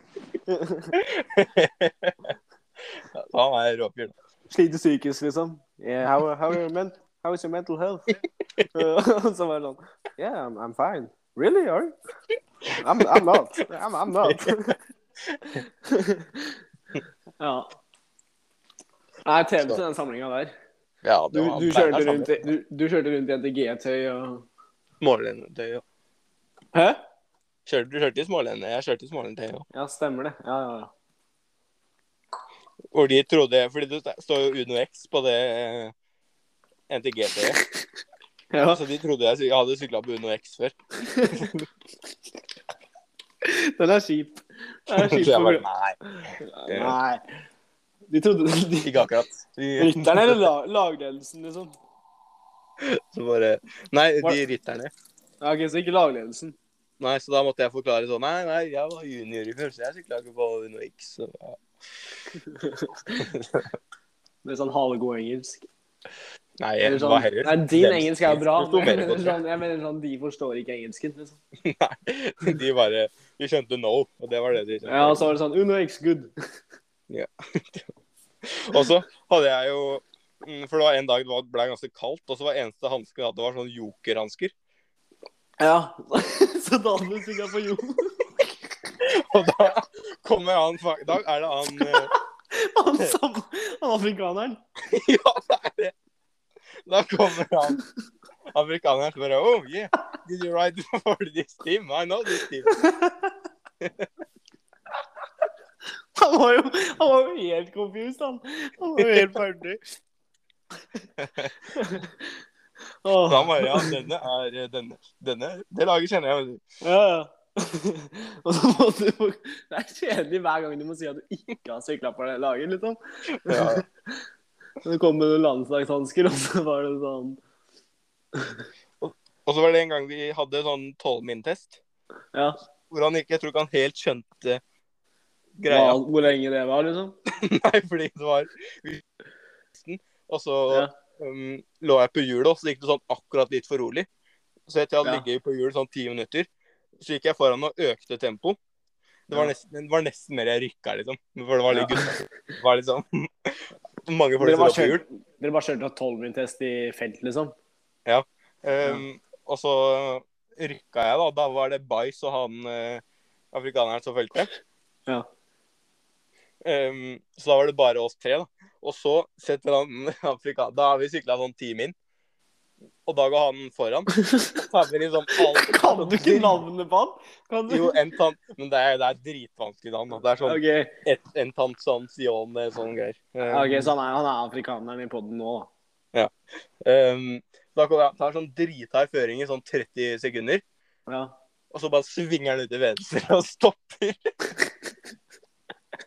S1: Så han er råfyr. da.
S2: Sliter psykisk, liksom. Yeah, how, how, are your men how is your mental health? Og så bare sånn Yeah, I'm, I'm fine. Really? Are you? I'm, I'm not. I'm, I'm not. ja. Nei, TV til den samlinga der.
S1: Ja,
S2: Du,
S1: det var-
S2: du, kjørte rundt, i- du, du kjørte rundt i NTG-tøy og
S1: Smålenetøy, ja.
S2: Hæ?
S1: Kjørte, du kjørte i smålene. Jeg kjørte i smålenetøy. Ja.
S2: Ja, stemmer det. Ja, ja, ja.
S1: Hvor de trodde Fordi det står jo Uno X på det eh, NTG-tøyet.
S2: Ja,
S1: Så de trodde jeg, sy- jeg hadde sykla på Uno X før.
S2: den er kjip. Den er
S1: Så jeg
S2: kjip for
S1: bare
S2: grunn-
S1: Nei,
S2: Nei. De trodde de,
S1: ikke akkurat. De-
S2: Rytterne eller la- lagledelsen, liksom?
S1: Så bare Nei,
S2: Var-
S1: de rytterne.
S2: Ja, ok, Så ikke lagledelsen.
S1: Nei, så da måtte jeg forklare sånn Nei, nei, jeg var junior i første, jeg sykla ikke på Uno X. Så, ja.
S2: Med sånn halvgod engelsk.
S1: Nei,
S2: Eller
S1: jeg
S2: sånn-
S1: var heller
S2: Nei, din
S1: Dem-
S2: engelsk er jo bra.
S1: forsto
S2: Men jeg
S1: bedre
S2: mener,
S1: godt,
S2: sånn, jeg mener sånn, de forstår ikke engelsken. Liksom.
S1: Nei, de bare De skjønte no, og det var det de skjønte.
S2: Ja, og så var det sånn Uno X good.
S1: Og så hadde jeg jo mm, For det var en dag det var- ble ganske kaldt, og så var eneste hansken jeg hadde, var sånn jokerhansker.
S2: Ja. så da hadde du sykla på jord.
S1: Og da kommer han fa- Da er det han eh,
S2: Han, sam- han afrikaneren.
S1: Ja, det er det. Da kommer han amerikaneren og bare Oh, yeah. Did you ride for this team? I know this team.
S2: Han var jo, han var jo helt confused, han. Han var jo helt ferdig. Åh.
S1: Da bare, ja, denne er eh, denne. denne. Det laget kjenner jeg. vet du.
S2: Ja, ja. Og så må du Det er kjedelig hver gang du må si at du ikke har sykla på det laget, liksom.
S1: Ja.
S2: Men Det kom med noen landslagshansker, og så var det sånn
S1: Og så var det en gang vi hadde sånn 12-min-test,
S2: Ja.
S1: hvor han ikke, jeg tror ikke han helt skjønte
S2: Hva,
S1: greia.
S2: hvor lenge det var, liksom.
S1: Nei, fordi det var Og så
S2: Ja.
S1: um, lå jeg på hjulet, og så gikk det sånn akkurat litt for rolig. Så etter jeg hadde
S2: Ja.
S1: ligget på hjulet sånn ti minutter, så gikk jeg foran og økte tempo. Det var
S2: Ja.
S1: nesten, det var nesten mer jeg rykka, liksom. For det var litt
S2: Ja.
S1: gutta. Det var litt sånn Mange folk
S2: Dere
S1: som lå
S2: bare
S1: på hjul.
S2: kjørte, dere bare kjørte tolvmintest i felt, liksom.
S1: Um, Og så rykka jeg, da. Da var det Bais og han eh, afrikaneren som fulgte.
S2: Ja.
S1: Ehm, så da var det bare oss tre, da. Og så setter han afrikaneren Da har vi sykla sånn ti min. Og da går han foran. Tar med liksom alt
S2: Kan du ikke navnet på han? Kan du?
S1: Jo, en tant Men det er, det er dritvanskelig navn. da. Det er sånn
S2: OK,
S1: et, en tant sånn Sion, eh, sånn greier. Ehm,
S2: Ok, så han er, han er afrikaneren i poden nå, da.
S1: ehm, da kommer han tar sånn drithard føring i sånn 30 sekunder.
S2: Ja.
S1: Og så bare svinger han ut til venstre og stopper.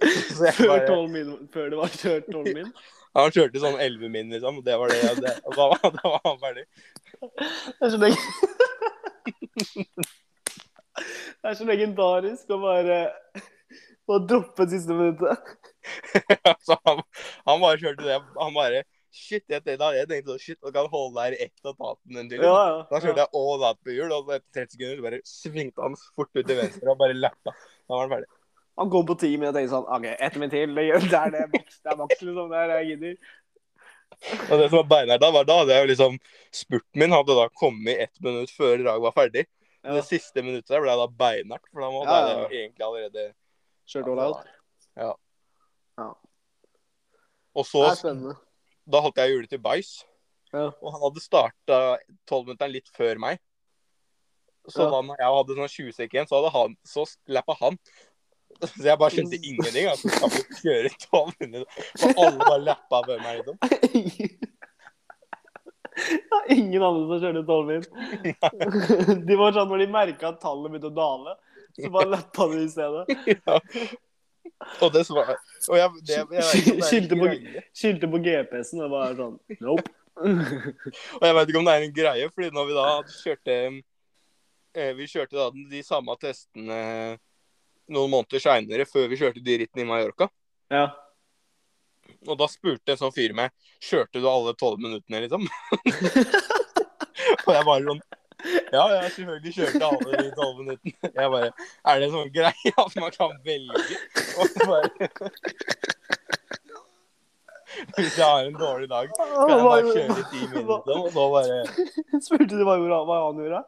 S1: Så jeg
S2: Før,
S1: bare,
S2: 12 min, før det var kjørt 12 min.
S1: han kjørte sånn 11 min, liksom. og Det var det. og det og da, var- da var han ferdig.
S2: Det er så lenge... Det er så legendarisk å bare å droppe siste minuttet.
S1: Så Altså, han, han bare kjørte det. Han bare Shit, jeg, tenkte- da, jeg tenkte sånn Shit, du kan holde deg i ett av taten en til. liksom."
S2: Ja,
S1: Da
S2: ja.
S1: kjørte jeg all out på hjul, og så etter 30 sekunder så bare svingte han fort ut til venstre og bare lappa. Da var han ferdig.
S2: Han kom på ti min og tenkte sånn OK, ett min til. Det gjør- det er det maks, det er maks, liksom. Det er det jeg gidder.
S1: Og det som var beinhardt da, var da hadde jeg jo liksom Spurten min hadde da kommet ett minutt før draget var ferdig. Men
S2: Ja.
S1: Det siste minuttet der ble da beinhardt, for da må- da
S2: Ja, ja,
S1: hadde
S2: ja.
S1: jeg jo egentlig allerede
S2: Kjørt all out.
S1: Ja.
S2: Ja.
S1: Og
S2: Det
S1: så,
S2: er spennende.
S1: da holdt jeg hjulet til Bais.
S2: Ja.
S1: Og han hadde starta tolvminutteren litt før meg. Så
S2: Ja.
S1: da når jeg hadde sånn 20 sek igjen, så hadde han, så lappa han. Så jeg bare skjønte ingenting. Altså, kan vi kjøre 12 minutter? Og alle bare lappa ved meg. Liksom.
S2: Det var ingen andre som kjørte tolv min. De var sånn når de merka at tallet begynte å dale, så bare lappa de i stedet.
S1: Og det som var og jeg, det, jeg, vet ikke om det er en
S2: Skyldte på-
S1: greie.
S2: Skyldte på GPS-en og var sånn Nope.
S1: Og jeg vet ikke om det er en greie, fordi når vi da kjørte eh, Vi kjørte da den- de samme testene noen måneder seinere, før vi kjørte de rittene i Mallorca.
S2: Ja.
S1: Og da spurte en sånn fyr meg Kjørte du alle tolv minuttene, liksom? og jeg bare sånn Ja, ja, selvfølgelig kjørte jeg alle de tolv minuttene. Jeg bare Er det en sånn greie at man kan velge? Og så bare Hvis jeg har en dårlig dag, kan jeg bare kjøre i ti minutter, og så bare
S2: Spurte du hva, gjorde- hva han gjorde?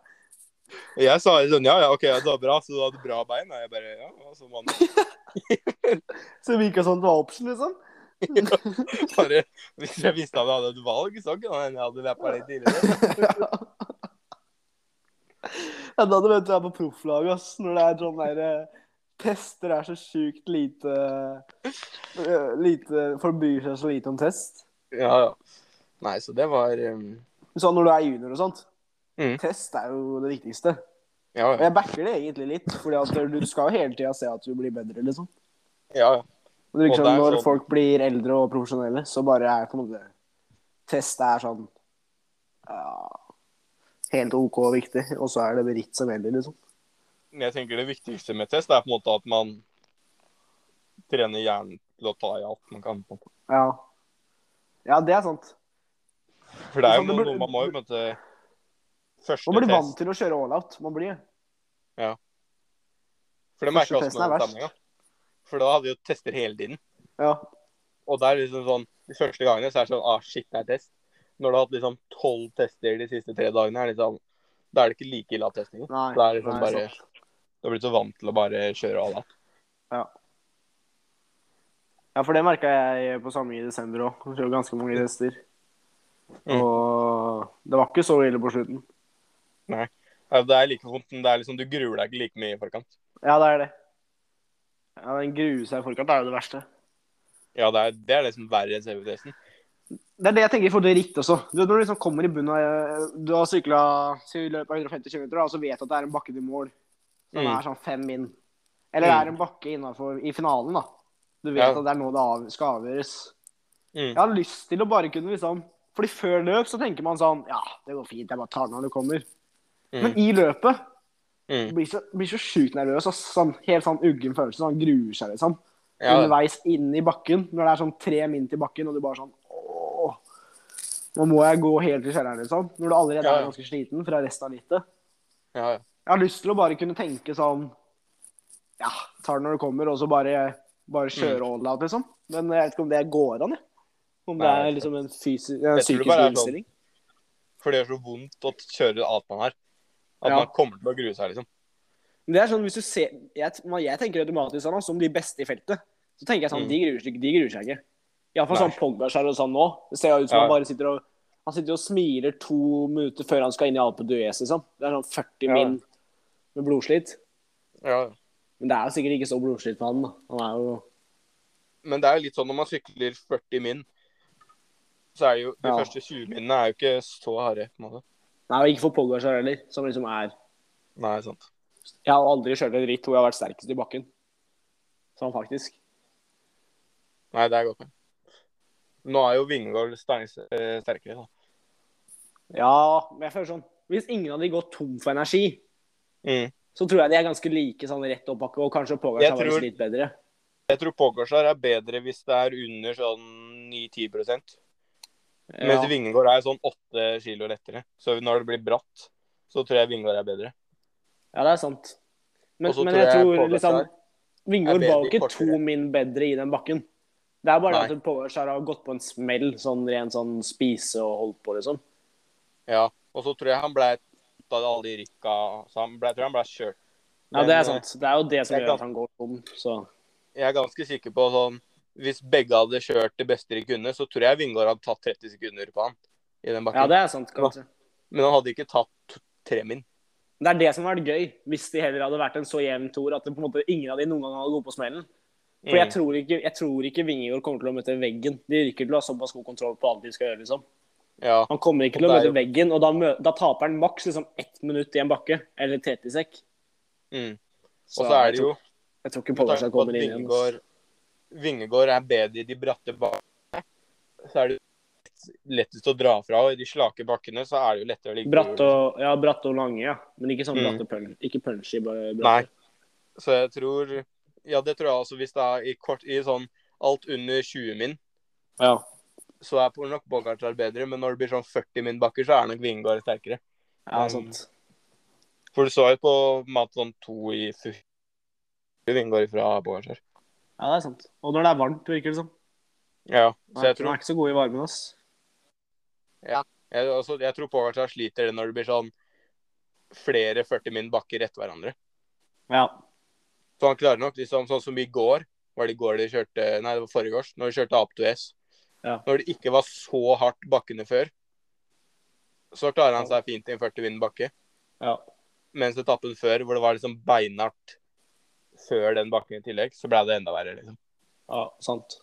S1: Jeg sa sånn Ja, ja, OK, det var bra, så du hadde bra bein? Og jeg bare Ja, altså, man
S2: Så det virka som det var option, liksom.
S1: bare Hvis jeg visste at jeg hadde et valg, så kan det hende jeg hadde lappa litt tidligere.
S2: Ja, da hadde du vært på profflaget, ass. Når det er sånn derre Tester er så sjukt lite eh, Lite Folk bryr seg så lite om test.
S1: Ja, ja. Nei, så det var um,
S2: Sånn når du er junior og sånt.
S1: Mm.
S2: Test er jo det viktigste.
S1: Ja,
S2: Og jeg backer det egentlig litt, Fordi at du skal jo hele tida se at du blir bedre, liksom.
S1: ja. ja.
S2: Og det
S1: Og
S2: virker
S1: det
S2: som
S1: er
S2: når
S1: sånn-
S2: folk blir eldre og profesjonelle, så bare er på en måte Test er sånn ja, helt OK og viktig, og så er det ritt som gjelder, liksom.
S1: Men jeg tenker det viktigste med test er på en måte at man trener hjernen til å ta i alt man kan. på en måte.
S2: Ja. ja, det er sant.
S1: For Liksom, det er jo
S2: Men du
S1: noe,
S2: burde-
S1: noe man må jo møte første
S2: Man blir vant
S1: test.
S2: til å kjøre all out. Man blir det.
S1: For det merker jeg
S2: første
S1: også
S2: testen er
S1: med
S2: verst.
S1: samlinga. For da hadde vi jo tester hele tiden.
S2: Ja.
S1: Og det er liksom sånn De første gangene så er det sånn Ah, shit, det er test. Når du har hatt liksom tolv tester de siste tre dagene, er det liksom Da er det ikke like ille av testingen.
S2: Nei.
S1: Da er det liksom
S2: nei,
S1: bare
S2: sant.
S1: Du har blitt så vant til å bare kjøre all out.
S2: Ja, for det merka jeg på samme i desember òg. Kjørte ganske mange tester.
S1: Mm.
S2: Og det var ikke så ille på slutten.
S1: Ja, Det er like vondt, men det er liksom Du gruer deg ikke like mye i forkant.
S2: Ja, det er det. Ja, Den grue seg i forkant er jo det verste.
S1: Ja, det er det, er det som er verre enn selve testen.
S2: Det er det jeg tenker i forhold til ritt også. Du vet når du liksom kommer i bunnen av Du har sykla i løpet av 150 km og så vet du at det er en bakke til mål som
S1: Mm.
S2: er sånn fem min. Eller det
S1: Mm.
S2: er en bakke innenfor, i finalen, da. Du vet
S1: Ja.
S2: at det er nå det av, skal avgjøres.
S1: Mm.
S2: Jeg har lyst til å bare kunne liksom Fordi før løp så tenker man sånn Ja, det går fint, jeg bare tar den når det kommer.
S1: Mm.
S2: Men i løpet
S1: Mm.
S2: blir så, blir så sjukt nervøs. ass. Sånn, helt sånn uggen følelse. Sånn gruer seg, liksom
S1: Ja,
S2: underveis inn i bakken. Når det er sånn tre min til bakken, og du bare sånn Åh, nå må jeg gå helt til kjelleren, liksom. Når du allerede
S1: Ja, ja.
S2: er ganske sliten fra resten av rittet.
S1: ja, ja.
S2: Jeg har lyst til å bare kunne tenke sånn Ja, tar det når det kommer, og så bare, bare
S1: Mm.
S2: kjøre all out, liksom. Men jeg vet ikke om det går an, jeg. Om det
S1: Nei,
S2: er
S1: jeg vet
S2: liksom en, fysi- en
S1: Jeg tror det
S2: psykisk
S1: bare er sånn.
S2: innstilling.
S1: For det gjør så vondt å kjøre alt man har. At
S2: Ja.
S1: man kommer til å grue seg, liksom.
S2: Men det er sånn, hvis du ser, jeg, man- jeg tenker automatisk sånn, da, som de beste i feltet. Så tenker jeg sånn,
S1: Mm.
S2: de, gruer, seg- de gruer seg ikke. Iallfall
S1: Nei.
S2: sånn Pogberg og sånn nå. Det ser jo ut som
S1: Ja.
S2: han bare sitter og han sitter og smiler to minutter før han skal inn i Alpe d'Huez. Liksom. Det er sånn 40
S1: Ja.
S2: min med blodslitt.
S1: Ja.
S2: Men det er jo sikkert ikke så blodslitt med han. Da. Han er jo
S1: Men det er jo litt sånn når man sykler 40 min, så er det jo de
S2: Ja.
S1: første 20 minnene er jo ikke så harde. på en måte.
S2: Nei, og ikke for Pogberg heller, som liksom er
S1: Nei, sant.
S2: Jeg har aldri kjørt et ritt hvor jeg har vært sterkest i bakken. Sånn faktisk.
S1: Nei, det er godt. poeng. Nå er jo Vingård Steins eh, sterkere, da.
S2: Ja, men jeg føler sånn Hvis ingen av de går tom for energi,
S1: Mm.
S2: så tror jeg de er ganske like sånn rett oppbakke, og kanskje Pogacar
S1: Jeg
S2: var
S1: tror-
S2: tror... litt bedre.
S1: Jeg tror Pogacar er bedre hvis det er under sånn 9-10 Mens
S2: Ja.
S1: Vingård er sånn 8 kilo lettere. Så når det blir bratt, så tror jeg Vingård er bedre.
S2: ja, det er sant. Men,
S1: Og så
S2: men
S1: tror
S2: jeg
S1: jeg
S2: tror
S1: Pogacar
S2: liksom Vingård
S1: er
S2: var
S1: bedre
S2: jo
S1: i
S2: ikke
S1: kortere.
S2: to min bedre i den bakken. Det er bare
S1: Nei.
S2: det at Pogacar har gått på en smell, sånn rent sånn spise og holdt på, liksom.
S1: Ja. Og så tror jeg han ble da alle de rykka Så han ble, jeg tror han ble kjørt.
S2: Ja,
S1: Men,
S2: det
S1: eh,
S2: er sant. Det er jo det som
S1: jeg
S2: gjør at han går tom, så
S1: Jeg er ganske sikker på sånn Hvis begge hadde kjørt det beste de kunne, så tror jeg Vingård hadde tatt 30 sekunder på han i den
S2: Ja,
S1: bakken.
S2: det er sant, kanskje.
S1: Men han hadde ikke tatt tre min.
S2: Det er det som hadde vært gøy, hvis de heller hadde vært en så jevn toer at det på en måte ingen av de noen gang hadde gått på smellen. For jeg
S1: Mm.
S2: tror ikke, jeg tror ikke Vingegård kommer til å møte veggen. De rykker til å ha såpass god kontroll på alt de skal gjøre, liksom.
S1: Ja.
S2: Han kommer ikke til
S1: Og
S2: å
S1: det er
S2: møte veggen, og da, mø da taper han maks liksom ett minutt i en bakke. Eller 30 sekk.
S1: Mm. Og så er det jo
S2: Jeg tror ikke
S1: Med
S2: Pogacar
S1: tanke på
S2: kommer
S1: at
S2: inn igjen. ass.
S1: Vingegård, Vingegård er bedre i de bratte bakkene, så er det lettest å dra fra. Og i de slake bakkene så er det jo lettere å ligge
S2: Bratt og, ja, bratt og lange, ja. Men ikke sånn
S1: Mm.
S2: bratt og punch, ikke punchy. bare
S1: Nei.
S2: bratt.
S1: Så jeg tror Ja, det tror jeg også. Hvis det er i, kort, i sånn alt under 20 min,
S2: Ja.
S1: så er nok Bogartar bedre. Men når det blir sånn 40 min bakker, så er nok Vingegård sterkere.
S2: ja,
S1: Mm.
S2: sant.
S1: For du så jo på Maton 2 i fu- Vingegård fra Bogartar.
S2: Ja, det er sant. Og når det er varmt, virker det som.
S1: Ja, så
S2: Nei,
S1: jeg
S2: Han
S1: tror,
S2: er ikke så god i varmen, ass.
S1: jeg, altså, jeg tror Bogartar sliter det når det blir sånn flere 40 min bakker etter hverandre.
S2: Ja.
S1: Så han klarer nok, liksom, sånn som i går, var det i går de kjørte, nei, det var forrige års, når de kjørte Aptoes.
S2: Ja.
S1: Når det ikke var så hardt bakkene før, så klarer han seg fint i en 40 vind bakke.
S2: Ja.
S1: Mens etappen før, hvor det var liksom beinhardt før den bakken i tillegg, så ble det enda verre, liksom.
S2: ja sant.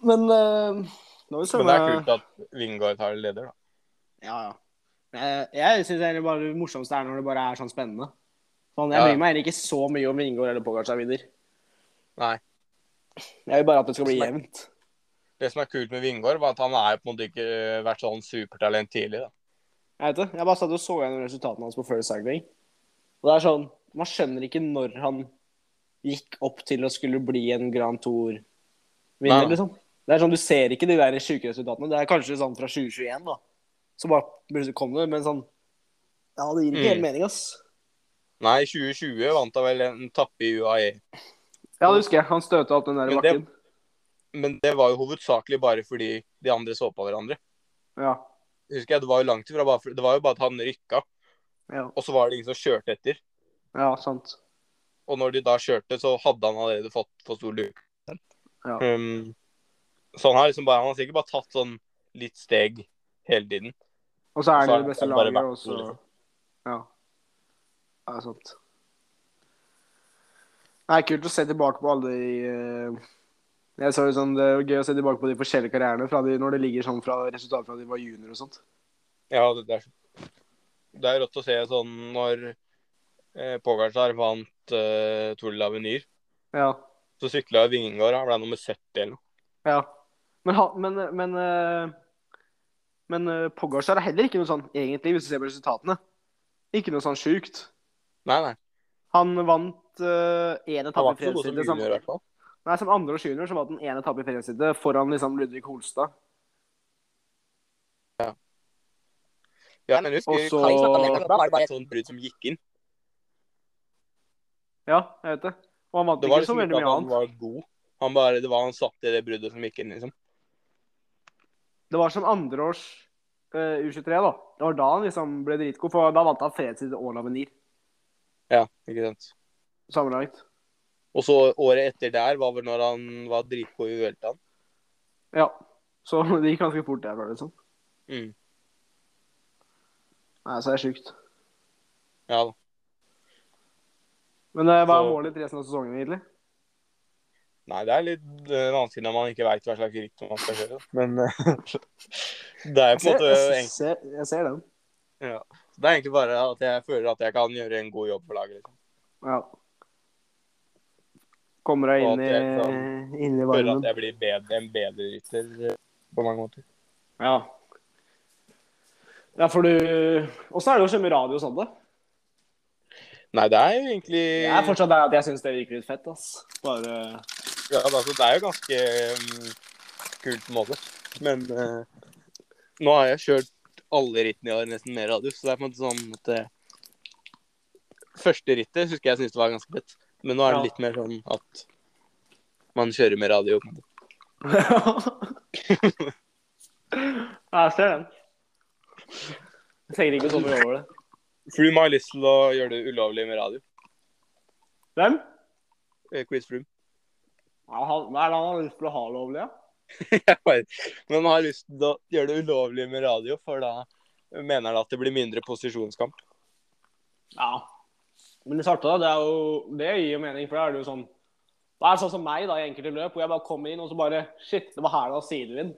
S2: Men eh, nå er vi
S1: Men det er kult at Vingård tar leder, da.
S2: Ja, ja. Jeg, jeg syns egentlig bare det morsomste er når det bare er sånn spennende. Sånn, jeg
S1: Ja.
S2: bryr meg egentlig ikke så mye om Vingård eller Pogacar vinner.
S1: Nei.
S2: Jeg vil bare at det skal bli jevnt.
S1: Det som er kult med Vingård, var at han er jo på en måte ikke øh, vært sånn supertalent tidlig, da.
S2: Jeg vet det. Jeg bare satt og så gjennom resultatene hans på First Cycling. Og det er sånn, Man skjønner ikke når han gikk opp til å skulle bli en Grand Tour-vinner,
S1: Nei, nei.
S2: liksom. Det er sånn, Du ser ikke de der sjuke resultatene. Det er kanskje sånn fra 2021, da. Så bare plutselig kom det, men sånn Ja, det gir ikke
S1: Mm.
S2: helt mening, ass.
S1: Nei, i 2020 vant han vel en tappe i E. UAE.
S2: Ja, det husker jeg. Han støta opp den der
S1: Men det- bakken. Men det var jo hovedsakelig bare fordi de andre så på hverandre.
S2: Ja.
S1: husker jeg, det var jo langt ifra bare, Det var jo bare at han rykka,
S2: Ja,
S1: og så var det ingen som kjørte etter.
S2: ja sant.
S1: Og når de da kjørte, så hadde han allerede fått for stor luke.
S2: Ja.
S1: Um, så han har liksom bare Han har sikkert bare tatt sånn litt steg hele tiden.
S2: Og så er
S1: Så
S2: det
S1: er
S2: det
S1: det
S2: beste
S1: bare
S2: laget,
S1: verdt
S2: og så
S1: det, liksom.
S2: Ja. Det er sant. Det er kult å se tilbake på alle de eh, Jeg så jo sånn, Det er jo gøy å se tilbake på de forskjellige karrierene fra de, når det ligger sånn fra resultater fra de var junior og sånt.
S1: Ja, det, det, er, så- det er rått å se sånn når eh, Pogacar vant eh, Tour de l'Avenir,
S2: Ja.
S1: så sykla jo Vingård. Han ble nummer 70 eller noe.
S2: ja. Men, ha- men, men, eh, men eh, Pogacar er heller ikke noe sånn, egentlig, hvis du ser på resultatene. Ikke noe sånn sjukt.
S1: Nei, nei.
S2: Han vant eh, én
S1: Han
S2: etappe
S1: var
S2: i
S1: ikke så god som
S2: fredstid. liksom.
S1: junior, i hvert fall.
S2: Nei, som andre og junior så var den ene etappe i feriesittet foran liksom Ludvig Holstad.
S1: Ja, men husker
S2: Og så-
S1: Kai snakket om det, men da var det bare et sånt brudd som gikk inn.
S2: Ja, jeg vet det. Og han vant
S1: Det
S2: ikke
S1: var
S2: så
S1: liksom
S2: veldig
S1: ikke at
S2: mye
S1: han
S2: annet.
S1: var god. Han bare, det var han satt i det bruddet som gikk inn, liksom.
S2: Det var som andreårs eh, U23, da. Det var da han liksom ble dritgod, for da vant han fredstid og lavenir
S1: Ja, ikke sant.
S2: sammenlagt.
S1: Og så året etter der var vel når han var dritgod i Ueltan.
S2: Ja. Så det gikk ganske fort der, var det liksom.
S1: Mm.
S2: Nei, så er det sjukt.
S1: Ja da.
S2: Men eh, hva er
S1: Så-
S2: målet i resten av sesongen, egentlig?
S1: Nei, det er litt eh, vanskelig når man ikke veit hva slags ritt man skal kjøre. Men eh, det er på en måte
S2: jeg,
S1: egentlig,
S2: ser, jeg ser den.
S1: det er egentlig bare at jeg føler at jeg kan gjøre en god jobb for laget. Liksom.
S2: Ja. Kommer deg
S1: Og
S2: inn,
S1: at jeg
S2: i- inn i
S1: Føler
S2: varmen.
S1: at jeg blir bedre, en bedre rytter eh, på mange måter.
S2: Ja. Ja, for du Åssen er det å kjøre med radio og sånn, da?
S1: Nei, det er jo egentlig
S2: Det er fortsatt det at jeg syns det virker litt fett, ass. Bare
S1: Ja, altså, det er jo ganske mm, kult på en måte. Men eh, nå har jeg kjørt alle rittene i år nesten med radius, så det er på en måte sånn at eh, Første rittet husker jeg syntes det var ganske fett, men nå er det
S2: Ja.
S1: litt mer sånn at man kjører med radio. på en måte.
S2: Ja, jeg ser den. Jeg trenger ikke å komme over det.
S1: Froome har lyst til å gjøre det ulovlig med radio.
S2: Hvem?
S1: Eh, Chris Froome.
S2: Ja, han, hva er det han har lyst til å ha lovlig? Ja?
S1: Jeg bare- men han har lyst til å gjøre det ulovlig med radio, for da mener han at det blir mindre posisjonskamp.
S2: ja. Men det svarte, da, det er jo Det gir jo mening, for da er det jo sånn Da er det sånn som meg, da, i enkelte løp, hvor jeg bare kommer inn og så bare Shit, det var her det var sidevind.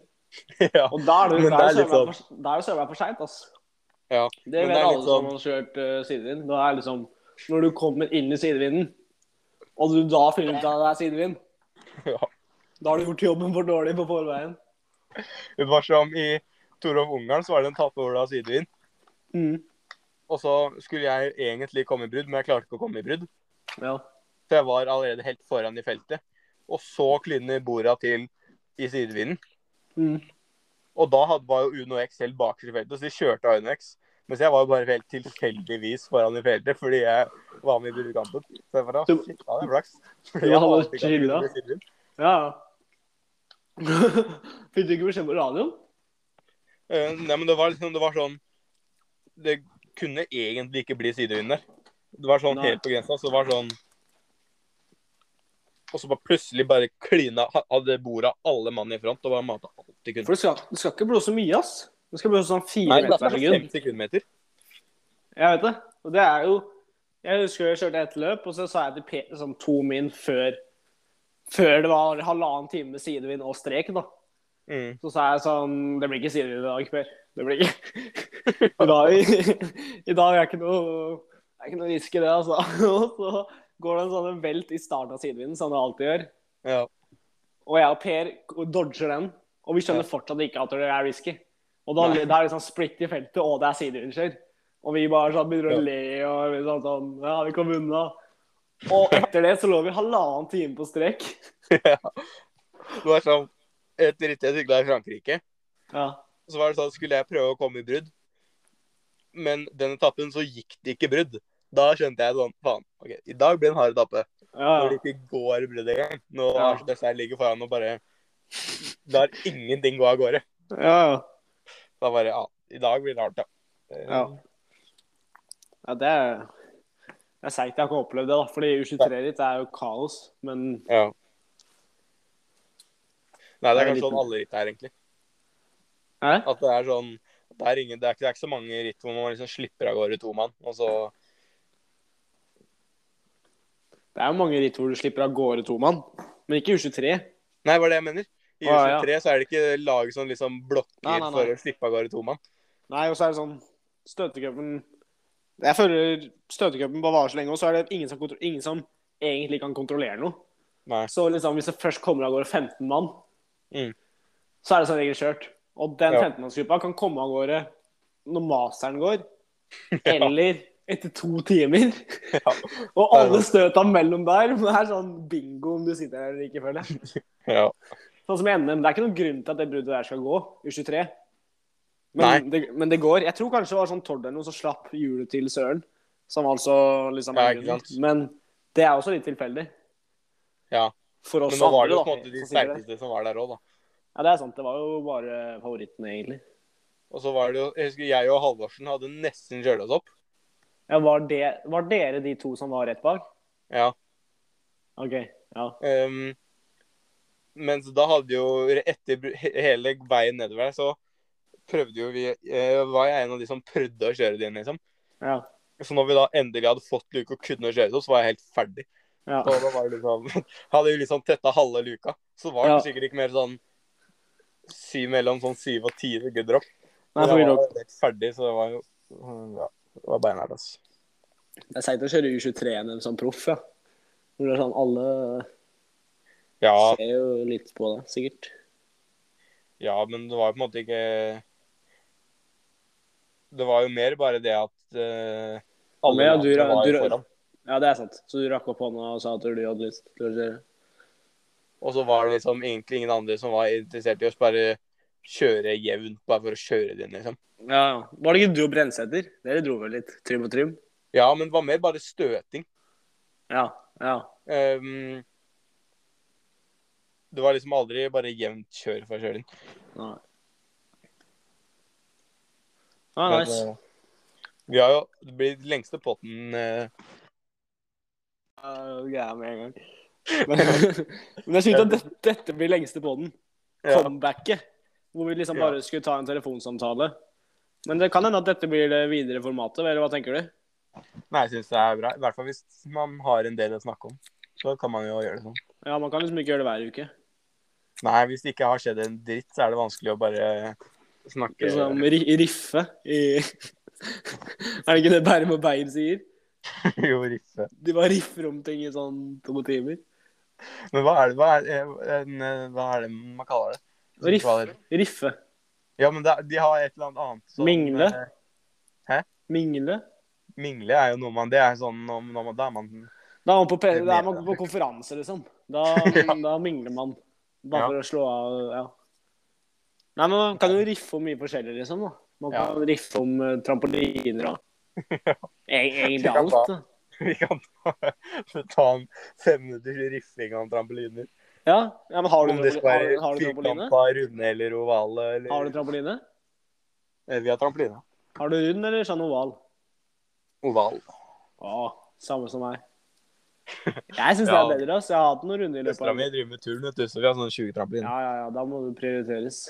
S1: ja.
S2: Og da er det
S1: Men det er litt
S2: da er det
S1: sånn-
S2: søren meg for- da er det søren meg for seint, ass.
S1: Ja,
S2: Det
S1: men
S2: vet
S1: det er
S2: alle
S1: litt sånn-
S2: som har kjørt eh, sidevind. Da er liksom Når du kommer inn i sidevinden, og du da finner ut at det er sidevind,
S1: ja.
S2: da har du gjort jobben for dårlig på forveien.
S1: Det var som i Torov Ungarn, så var det en tappe over da sidevind. Mm. Og så skulle jeg egentlig komme i brudd, men jeg klarte ikke å komme i brudd.
S2: Ja.
S1: Så jeg var allerede helt foran i feltet. Og så klyner borda til i sidevinden.
S2: Mm.
S1: Og da hadde, var jo Uno X helt bakerst i feltet, så de kjørte av Uno X. Mens jeg var jo bare helt tilfeldigvis foran i feltet fordi jeg var med i budkampen. Så jeg bare,
S2: Du-
S1: shit, da hadde jeg flaks. Fordi
S2: Du
S1: jeg
S2: hadde
S1: ante ikke at det
S2: chillet.
S1: ble sidevind.
S2: ja. Fikk du ikke beskjed på radioen?
S1: Eh, Nei, men det var liksom, det var sånn Det kunne egentlig ikke bli sidevind der. Det var sånn
S2: Nei.
S1: helt på grensa, så det var sånn Og så bare plutselig bare klina ha- Hadde bordet alle mann i front og bare mata alt de kunne.
S2: For det skal, det skal ikke blåse mye, ass. Det skal blåse sånn fire
S1: Nei, det
S2: meter
S1: er
S2: per
S1: fem
S2: sekund.
S1: sekundmeter.
S2: Jeg vet det. Og det er jo Jeg husker jeg kjørte ett løp, og så sa jeg til Peter sånn to min før Før det var halvannen time med sidevind og strek, da.
S1: Mm.
S2: Så sa jeg sånn Det blir ikke sidevind i dag, Per. Det blir ikke I dag, i dag er ikke noe Det er ikke noe risk i det, altså. Og så går det en sånn en velt i starten av sidevinden, som det alltid gjør.
S1: Ja.
S2: Og jeg og Per dodger den, og vi skjønner fortsatt ikke at det er risky. Og da,
S1: Nei.
S2: det er liksom splitt i feltet, og det er sidevindskjør. Og vi bare sånn begynner
S1: Ja.
S2: å le og vi sånn, sånn Ja, vi kom unna. Og etter det så lå vi halvannen time på strek.
S1: Det var sånn Et ritt jeg sykla i Frankrike.
S2: Ja.
S1: Så var det sånn, skulle jeg prøve å komme i brudd. Men den etappen så gikk det ikke brudd. Da skjønte jeg sånn Faen, ok, i dag blir det en hard etappe.
S2: ja.
S1: Når det ikke går brudd engang. Nå
S2: Ja.
S1: har disse her ligger foran og bare lar ingenting gå av gårde.
S2: ja. ja.
S1: Da bare Ja, i dag blir det hardt, ja. Eh,
S2: Ja. Ja, det er, det er seigt jeg har ikke opplevd det, da. Fordi U23-ritt er jo kaos. Men
S1: ja. Nei, det
S2: Det
S1: er
S2: er
S1: kanskje
S2: litt-
S1: sånn alle ritt er, egentlig.
S2: Hæ?
S1: At det er sånn Det er, ingen, det er, ikke, det er ikke så mange ritt hvor man liksom slipper av gårde to mann, og så
S2: det er jo mange ritt hvor du slipper av gårde to mann. Men ikke U23.
S1: Nei, var det jeg mener. I
S2: Å, ja.
S1: U23 så er det ikke laget som liksom blokker
S2: Nei, nei, nei.
S1: for å slippe av gårde to mann.
S2: Nei, og så er det sånn Støtecupen Jeg føler støtecupen bare varer så lenge, og så er det ingen som, kontro- ingen som egentlig kan kontrollere noe.
S1: Nei.
S2: Så liksom, hvis det først kommer av gårde 15 mann,
S1: Mm.
S2: så er det som regel kjørt. Og den
S1: Ja.
S2: 15-mannsgruppa kan komme av gårde når masteren går, eller etter to timer. Og alle støta mellom der. Det er sånn bingo om du sitter der eller ikke, føler jeg.
S1: Ja.
S2: Sånn som i NM, det er ikke noen grunn til at det bruddet der skal gå, U23.
S1: Nei.
S2: Men, det, men det går. Jeg tror kanskje det var sånn Tord eller noe som slapp hjulet til Søren. Som altså liksom
S1: Ja,
S2: er
S1: ikke
S2: grunnen.
S1: sant.
S2: Men det er også litt tilfeldig.
S1: Ja.
S2: For oss
S1: Men nå var det jo
S2: andre,
S1: på en
S2: da,
S1: måte de
S2: som sier det.
S1: sterkeste som var der òg, da.
S2: Ja, det er sant. Det var jo bare favorittene, egentlig.
S1: Og så var det jo Jeg husker jeg og Halvorsen hadde nesten kjørt oss opp.
S2: Ja, var, det, var dere de to som var rett bak?
S1: Ja.
S2: OK. Ja.
S1: Ehm, mens da hadde jo etter br- he- hele veien nedover der, så prøvde jo vi eh, Var jeg en av de som prøvde å kjøre det inn, liksom.
S2: Ja.
S1: Så når vi da endelig hadde fått luke og kunne kjøre det opp, så var jeg helt ferdig.
S2: ja.
S1: Og da var det liksom, hadde vi liksom tetta halve luka. Så var det
S2: Ja.
S1: sikkert ikke mer sånn syv mellom sånn syv og ti good drop.
S2: Nei,
S1: Men
S2: for
S1: jeg
S2: dere-
S1: var helt ferdig, så det var jo Ja, det var beinhardt, altså.
S2: det er seigt å kjøre U23-NM som proff, ja. Når det er sånn, Alle
S1: Ja,
S2: ser jo litt på det, sikkert.
S1: ja, men det var jo på en måte ikke Det var jo mer bare det at eh, alle
S2: Ja, du-
S1: lagene var jo
S2: du-
S1: foran.
S2: Ja, det er sant. Så du rakk opp hånda og sa at du hadde lyst til å kjøre?
S1: Og så var det liksom egentlig ingen andre som var interessert i oss. Bare kjøre jevnt, bare for å kjøre det inn, liksom.
S2: Ja, ja. Var det ikke du og Brensæter? Dere dro vel litt trym og trym?
S1: Ja, men det var mer bare støting.
S2: Ja. ja.
S1: Ehm, det var liksom aldri bare jevnt kjør for kjøring.
S2: Nei. Ah,
S1: Men,
S2: nice.
S1: eh, vi har jo det blir den lengste potten eh,
S2: Ja, greia med en gang. Men, men jeg synes at dette, dette blir lengste på den.
S1: Ja.
S2: Comebacket. Hvor vi liksom
S1: Ja.
S2: bare skulle ta en telefonsamtale. Men det kan hende at dette blir det videre formatet, eller hva tenker du?
S1: Nei, jeg syns det er bra. I hvert fall hvis man har en del å snakke om. Så kan man jo gjøre det sånn.
S2: Ja, man kan liksom ikke gjøre det hver uke.
S1: Nei, hvis det ikke har skjedd en dritt, så er det vanskelig å bare snakke
S2: Liksom ri- riffe i Er det ikke det Bærum og Bein sier?
S1: Jo, riffe.
S2: De bare riffer om ting i sånn to timer.
S1: Men hva er det, hva er, eh, en, eh, hva er det man kaller det?
S2: Riff.
S1: Hva er det?
S2: Riffe.
S1: Ja, men det, de har et eller annet annet. som,
S2: Mingle.
S1: eh,
S2: Mingle.
S1: mingle er jo noe man Det er sånn når, når man, da er man
S2: Da er man på, pe- da er man på konferanse, liksom. Da,
S1: Ja.
S2: da mingler man.
S1: Ja.
S2: Bare for å slå av Ja. Nei, men man kan jo riffe om mye forskjellig, liksom. da. Man kan riffe om eh, trampoliner og E- Egentlig
S1: Vi kan
S2: alt.
S1: ta-
S2: da.
S1: Vi kan ta, ta en fem minutters riffing av trampoliner.
S2: Ja, ja, men har du,
S1: Om det skal
S2: har,
S1: være
S2: har du trampoline?
S1: firkanta, runde eller ovale. Eller...
S2: Har du trampoline?
S1: Eh, Vi har trampoline.
S2: Har du rund eller sånn oval?
S1: Oval.
S2: Å, samme som meg. Jeg syns
S1: Ja.
S2: det er bedre. ass. Jeg har hatt noen runder i løpet
S1: Søstera
S2: av
S1: mi driver med turn, vet du, så vi har sånn 20 trampoliner.
S2: Ja, ja, ja. Da må du prioriteres.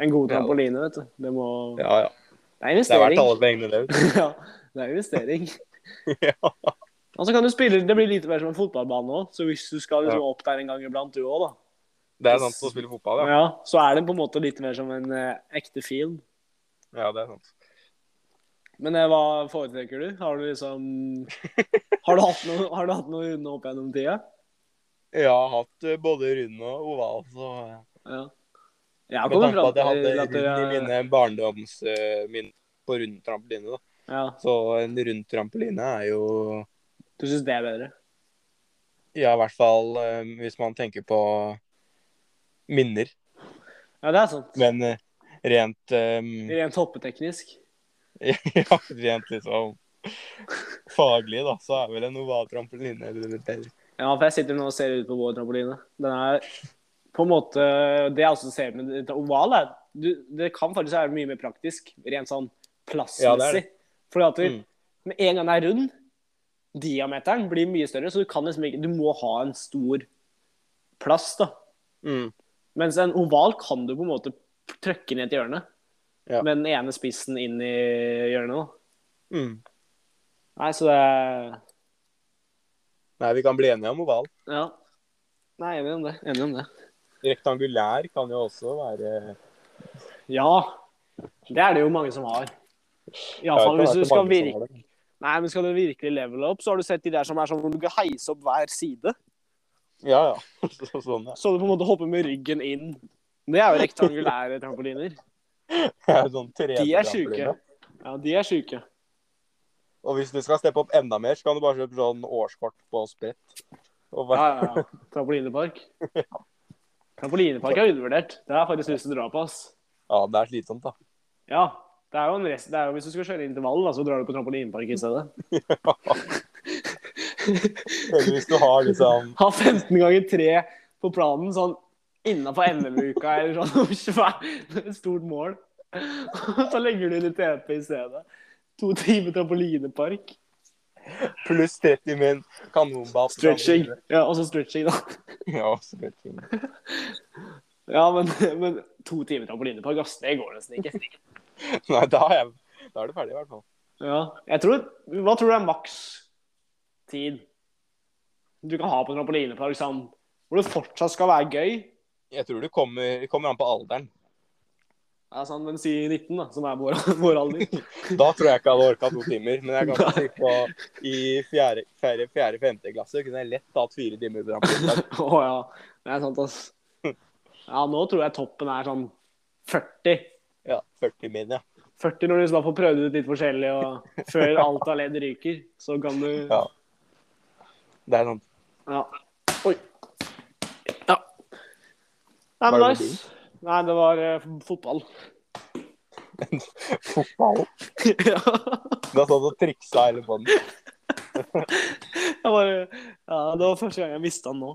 S2: En god
S1: Ja.
S2: trampoline, vet du. Det må
S1: Ja, ja.
S2: Det er
S1: Det er verdt
S2: investering.
S1: alle pengene, det. vet
S2: ja, det er investering.
S1: du. ja.
S2: Og så kan du spille, Det blir litt mer som en fotballbane òg, så hvis du skal liksom opp der en gang iblant, du òg, da.
S1: Det er sant å spille fotball, ja.
S2: Ja, så er det på en måte litt mer som en eh, ekte film.
S1: Ja, det er sant.
S2: Men eh, hva foretrekker du? Har du liksom Har du hatt noe, har du hatt noe unna opp gjennom tida?
S1: Jeg har hatt eh, både rund og oval, så
S2: Ja. Jeg har
S1: Med
S2: kommet
S1: tanke på
S2: fram
S1: at jeg hadde
S2: til at
S1: rund i
S2: jeg,
S1: mine barndomsminner på rund trampoline, da.
S2: ja,
S1: Så en rund trampoline er jo
S2: Du syns det er bedre?
S1: Ja, i hvert fall eh, hvis man tenker på minner.
S2: Ja, det er sant.
S1: Men eh, rent eh,
S2: Rent hoppeteknisk.
S1: Ja, rent liksom faglig, da, så er vel en oval trampoline litt bedre.
S2: Ja, for jeg sitter nå og ser ut på vår trampoline. Den er på en måte Det jeg også ser med dette ovale, er du, det kan faktisk være mye mer praktisk, rent sånn
S1: Ja, det er
S2: plassmessig.
S1: det.
S2: Fordi at du,
S1: Mm.
S2: med en gang den er rund, diameteren blir mye større, så du kan liksom ikke Du må ha en stor plass, da.
S1: Mm.
S2: Mens en oval kan du på en måte trykke ned til hjørnet.
S1: Ja.
S2: Med den ene spissen inn i hjørnet. da.
S1: Mm.
S2: Nei, så det er
S1: Nei, vi kan bli enige om oval.
S2: Ja. Nei, enig om det. Enig om det.
S1: Rektangulær kan jo også være
S2: Ja, det er det jo mange som har.
S1: Jeg
S2: Iallfall
S1: vet ikke om det
S2: hvis
S1: er
S2: du
S1: så
S2: skal
S1: mange som
S2: virke
S1: har det.
S2: Nei, men skal du virkelig level up, så har du sett de der som er sånn hvor du kan heise opp hver side.
S1: Ja, ja. Så, sånn, ja.
S2: Så du på en måte hopper med ryggen inn. Det er jo rektangulære trampoliner.
S1: Det er sånn 3D
S2: De er
S1: trampoline.
S2: sjuke. Ja, de er sjuke.
S1: Og hvis du skal steppe opp enda mer, så kan du bare kjøpe sånn årskort på sprett. Og
S2: Ja,
S1: bare,
S2: ja, ja. Trampolinepark. Trampolinepark er undervurdert. Det har jeg faktisk lyst til å dra på, ass.
S1: ja, det er slitsomt, da.
S2: Ja. Det er jo en rest, det er jo hvis du skal kjøre intervall, da, så drar du på trampolinepark i stedet.
S1: Eller hvis du har liksom
S2: Ha 15 ganger 3 på planen, sånn innafor NM-uka eller sånn om svær- et stort mål. Så legger du inn i TP i stedet. To timer trampolinepark.
S1: Pluss 30 med en kanonball. på
S2: Stretching.
S1: andre.
S2: Ja, og så stretching, da.
S1: Ja, stretching.
S2: Ja, men, men to timer trampolinepark, ass, det går nesten ikke.
S1: Nei, da er, jeg, da er det ferdig, i hvert fall.
S2: Ja. Jeg tror, hva tror du er maks tid du kan ha på trampolinepark sånn, hvor det fortsatt skal være gøy?
S1: Jeg tror det kommer, det kommer an på alderen.
S2: Ja, sånn, men si 19, da, som er vår, vår alder.
S1: Da tror jeg ikke jeg hadde orka to timer. Men jeg kan ikke tenke på i fjerde, fjerde, fjerde femte klasse kunne jeg lett tatt fire timer. på rampen.
S2: Å ja. Det er sant, ass. Ja, nå tror jeg toppen er sånn 40.
S1: Ja, 40 min, ja.
S2: 40 når du liksom får prøvd ut litt forskjellig, og før alt av ledd ryker, så kan du
S1: ja. Det er sånn sant.
S2: Ja. Oi. Ja. Nei, men
S1: Var det
S2: nice. Nei, det var eh, fotball.
S1: Fotball.
S2: ja.
S1: Da satt og triksa hele bånden.
S2: Jeg bare, eh, ja, det var første gang jeg mista den nå.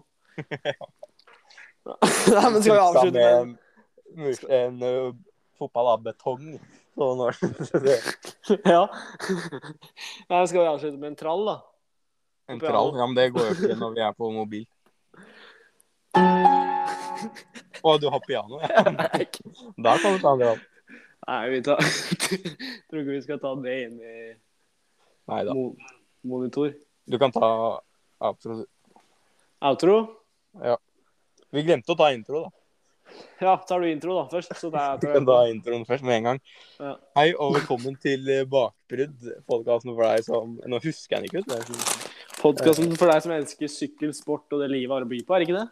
S2: Nei, men skal vi
S1: Triksa
S2: avslutte
S1: med
S2: med
S1: en, mus- en ø, fotball av betong. Sånn var det.
S2: Ja. Nei, skal vi avslutte med en trall, da?
S1: En trall. Ja, men det går jo ikke når vi er på mobil. Å, du har piano? Ja.
S2: Nei,
S1: Da kan du ta en trall.
S2: vi tar Tror ikke vi skal ta det inn i
S1: Nei da.
S2: mo monitor.
S1: Du kan ta absolutt.
S2: Outro?
S1: Vi glemte å ta intro, da.
S2: Ja, tar du intro da først? Så tar
S1: Du
S2: jeg
S1: kan
S2: outro.
S1: ta introen først med en gang.
S2: Ja.
S1: Hei og velkommen til eh, Bakbrudd, podkasten for deg som Nå husker jeg den ikke ut. men jeg synes-
S2: Podkasten for deg som elsker sykkel, sport og det livet har å by på, er ikke det?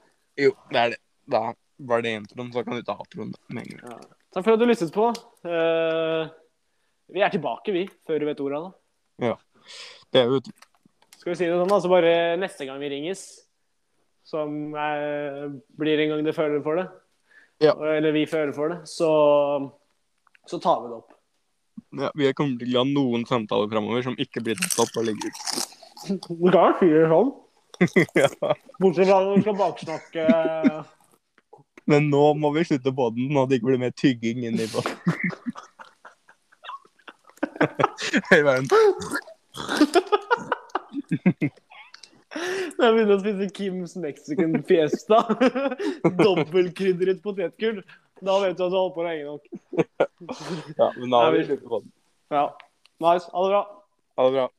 S1: Jo, det er det. Da var det introen, så kan du ta outroen med en gang.
S2: Ja. Takk for at du lyttet på. Eh, vi er tilbake, vi, før du vet ordet av det.
S1: Det er jo ut-
S2: Skal vi si det sånn, da? Så bare neste gang vi ringes, som eh, blir en gang det føler for det,
S1: Ja.
S2: eller vi føler for det, så, så tar vi det opp.
S1: ja, Vi kommer til å ha noen samtaler framover som ikke blir tatt opp og legger ut.
S2: Du kan jo si det sånn.
S1: Ja.
S2: Bortsett fra når du skal baksnakke
S1: Men nå må vi slutte på den, sånn at det ikke blir mer tygging inni på den. Hei, verden.
S2: når jeg begynner å spise Kims Mexican Fiesta. Dobbelkrydret potetgull. Da vet du at du har holdt på lenge nok.
S1: Ja, men da må vi slutte på den.
S2: Ja. Nice. Ha det bra.
S1: Ha det bra.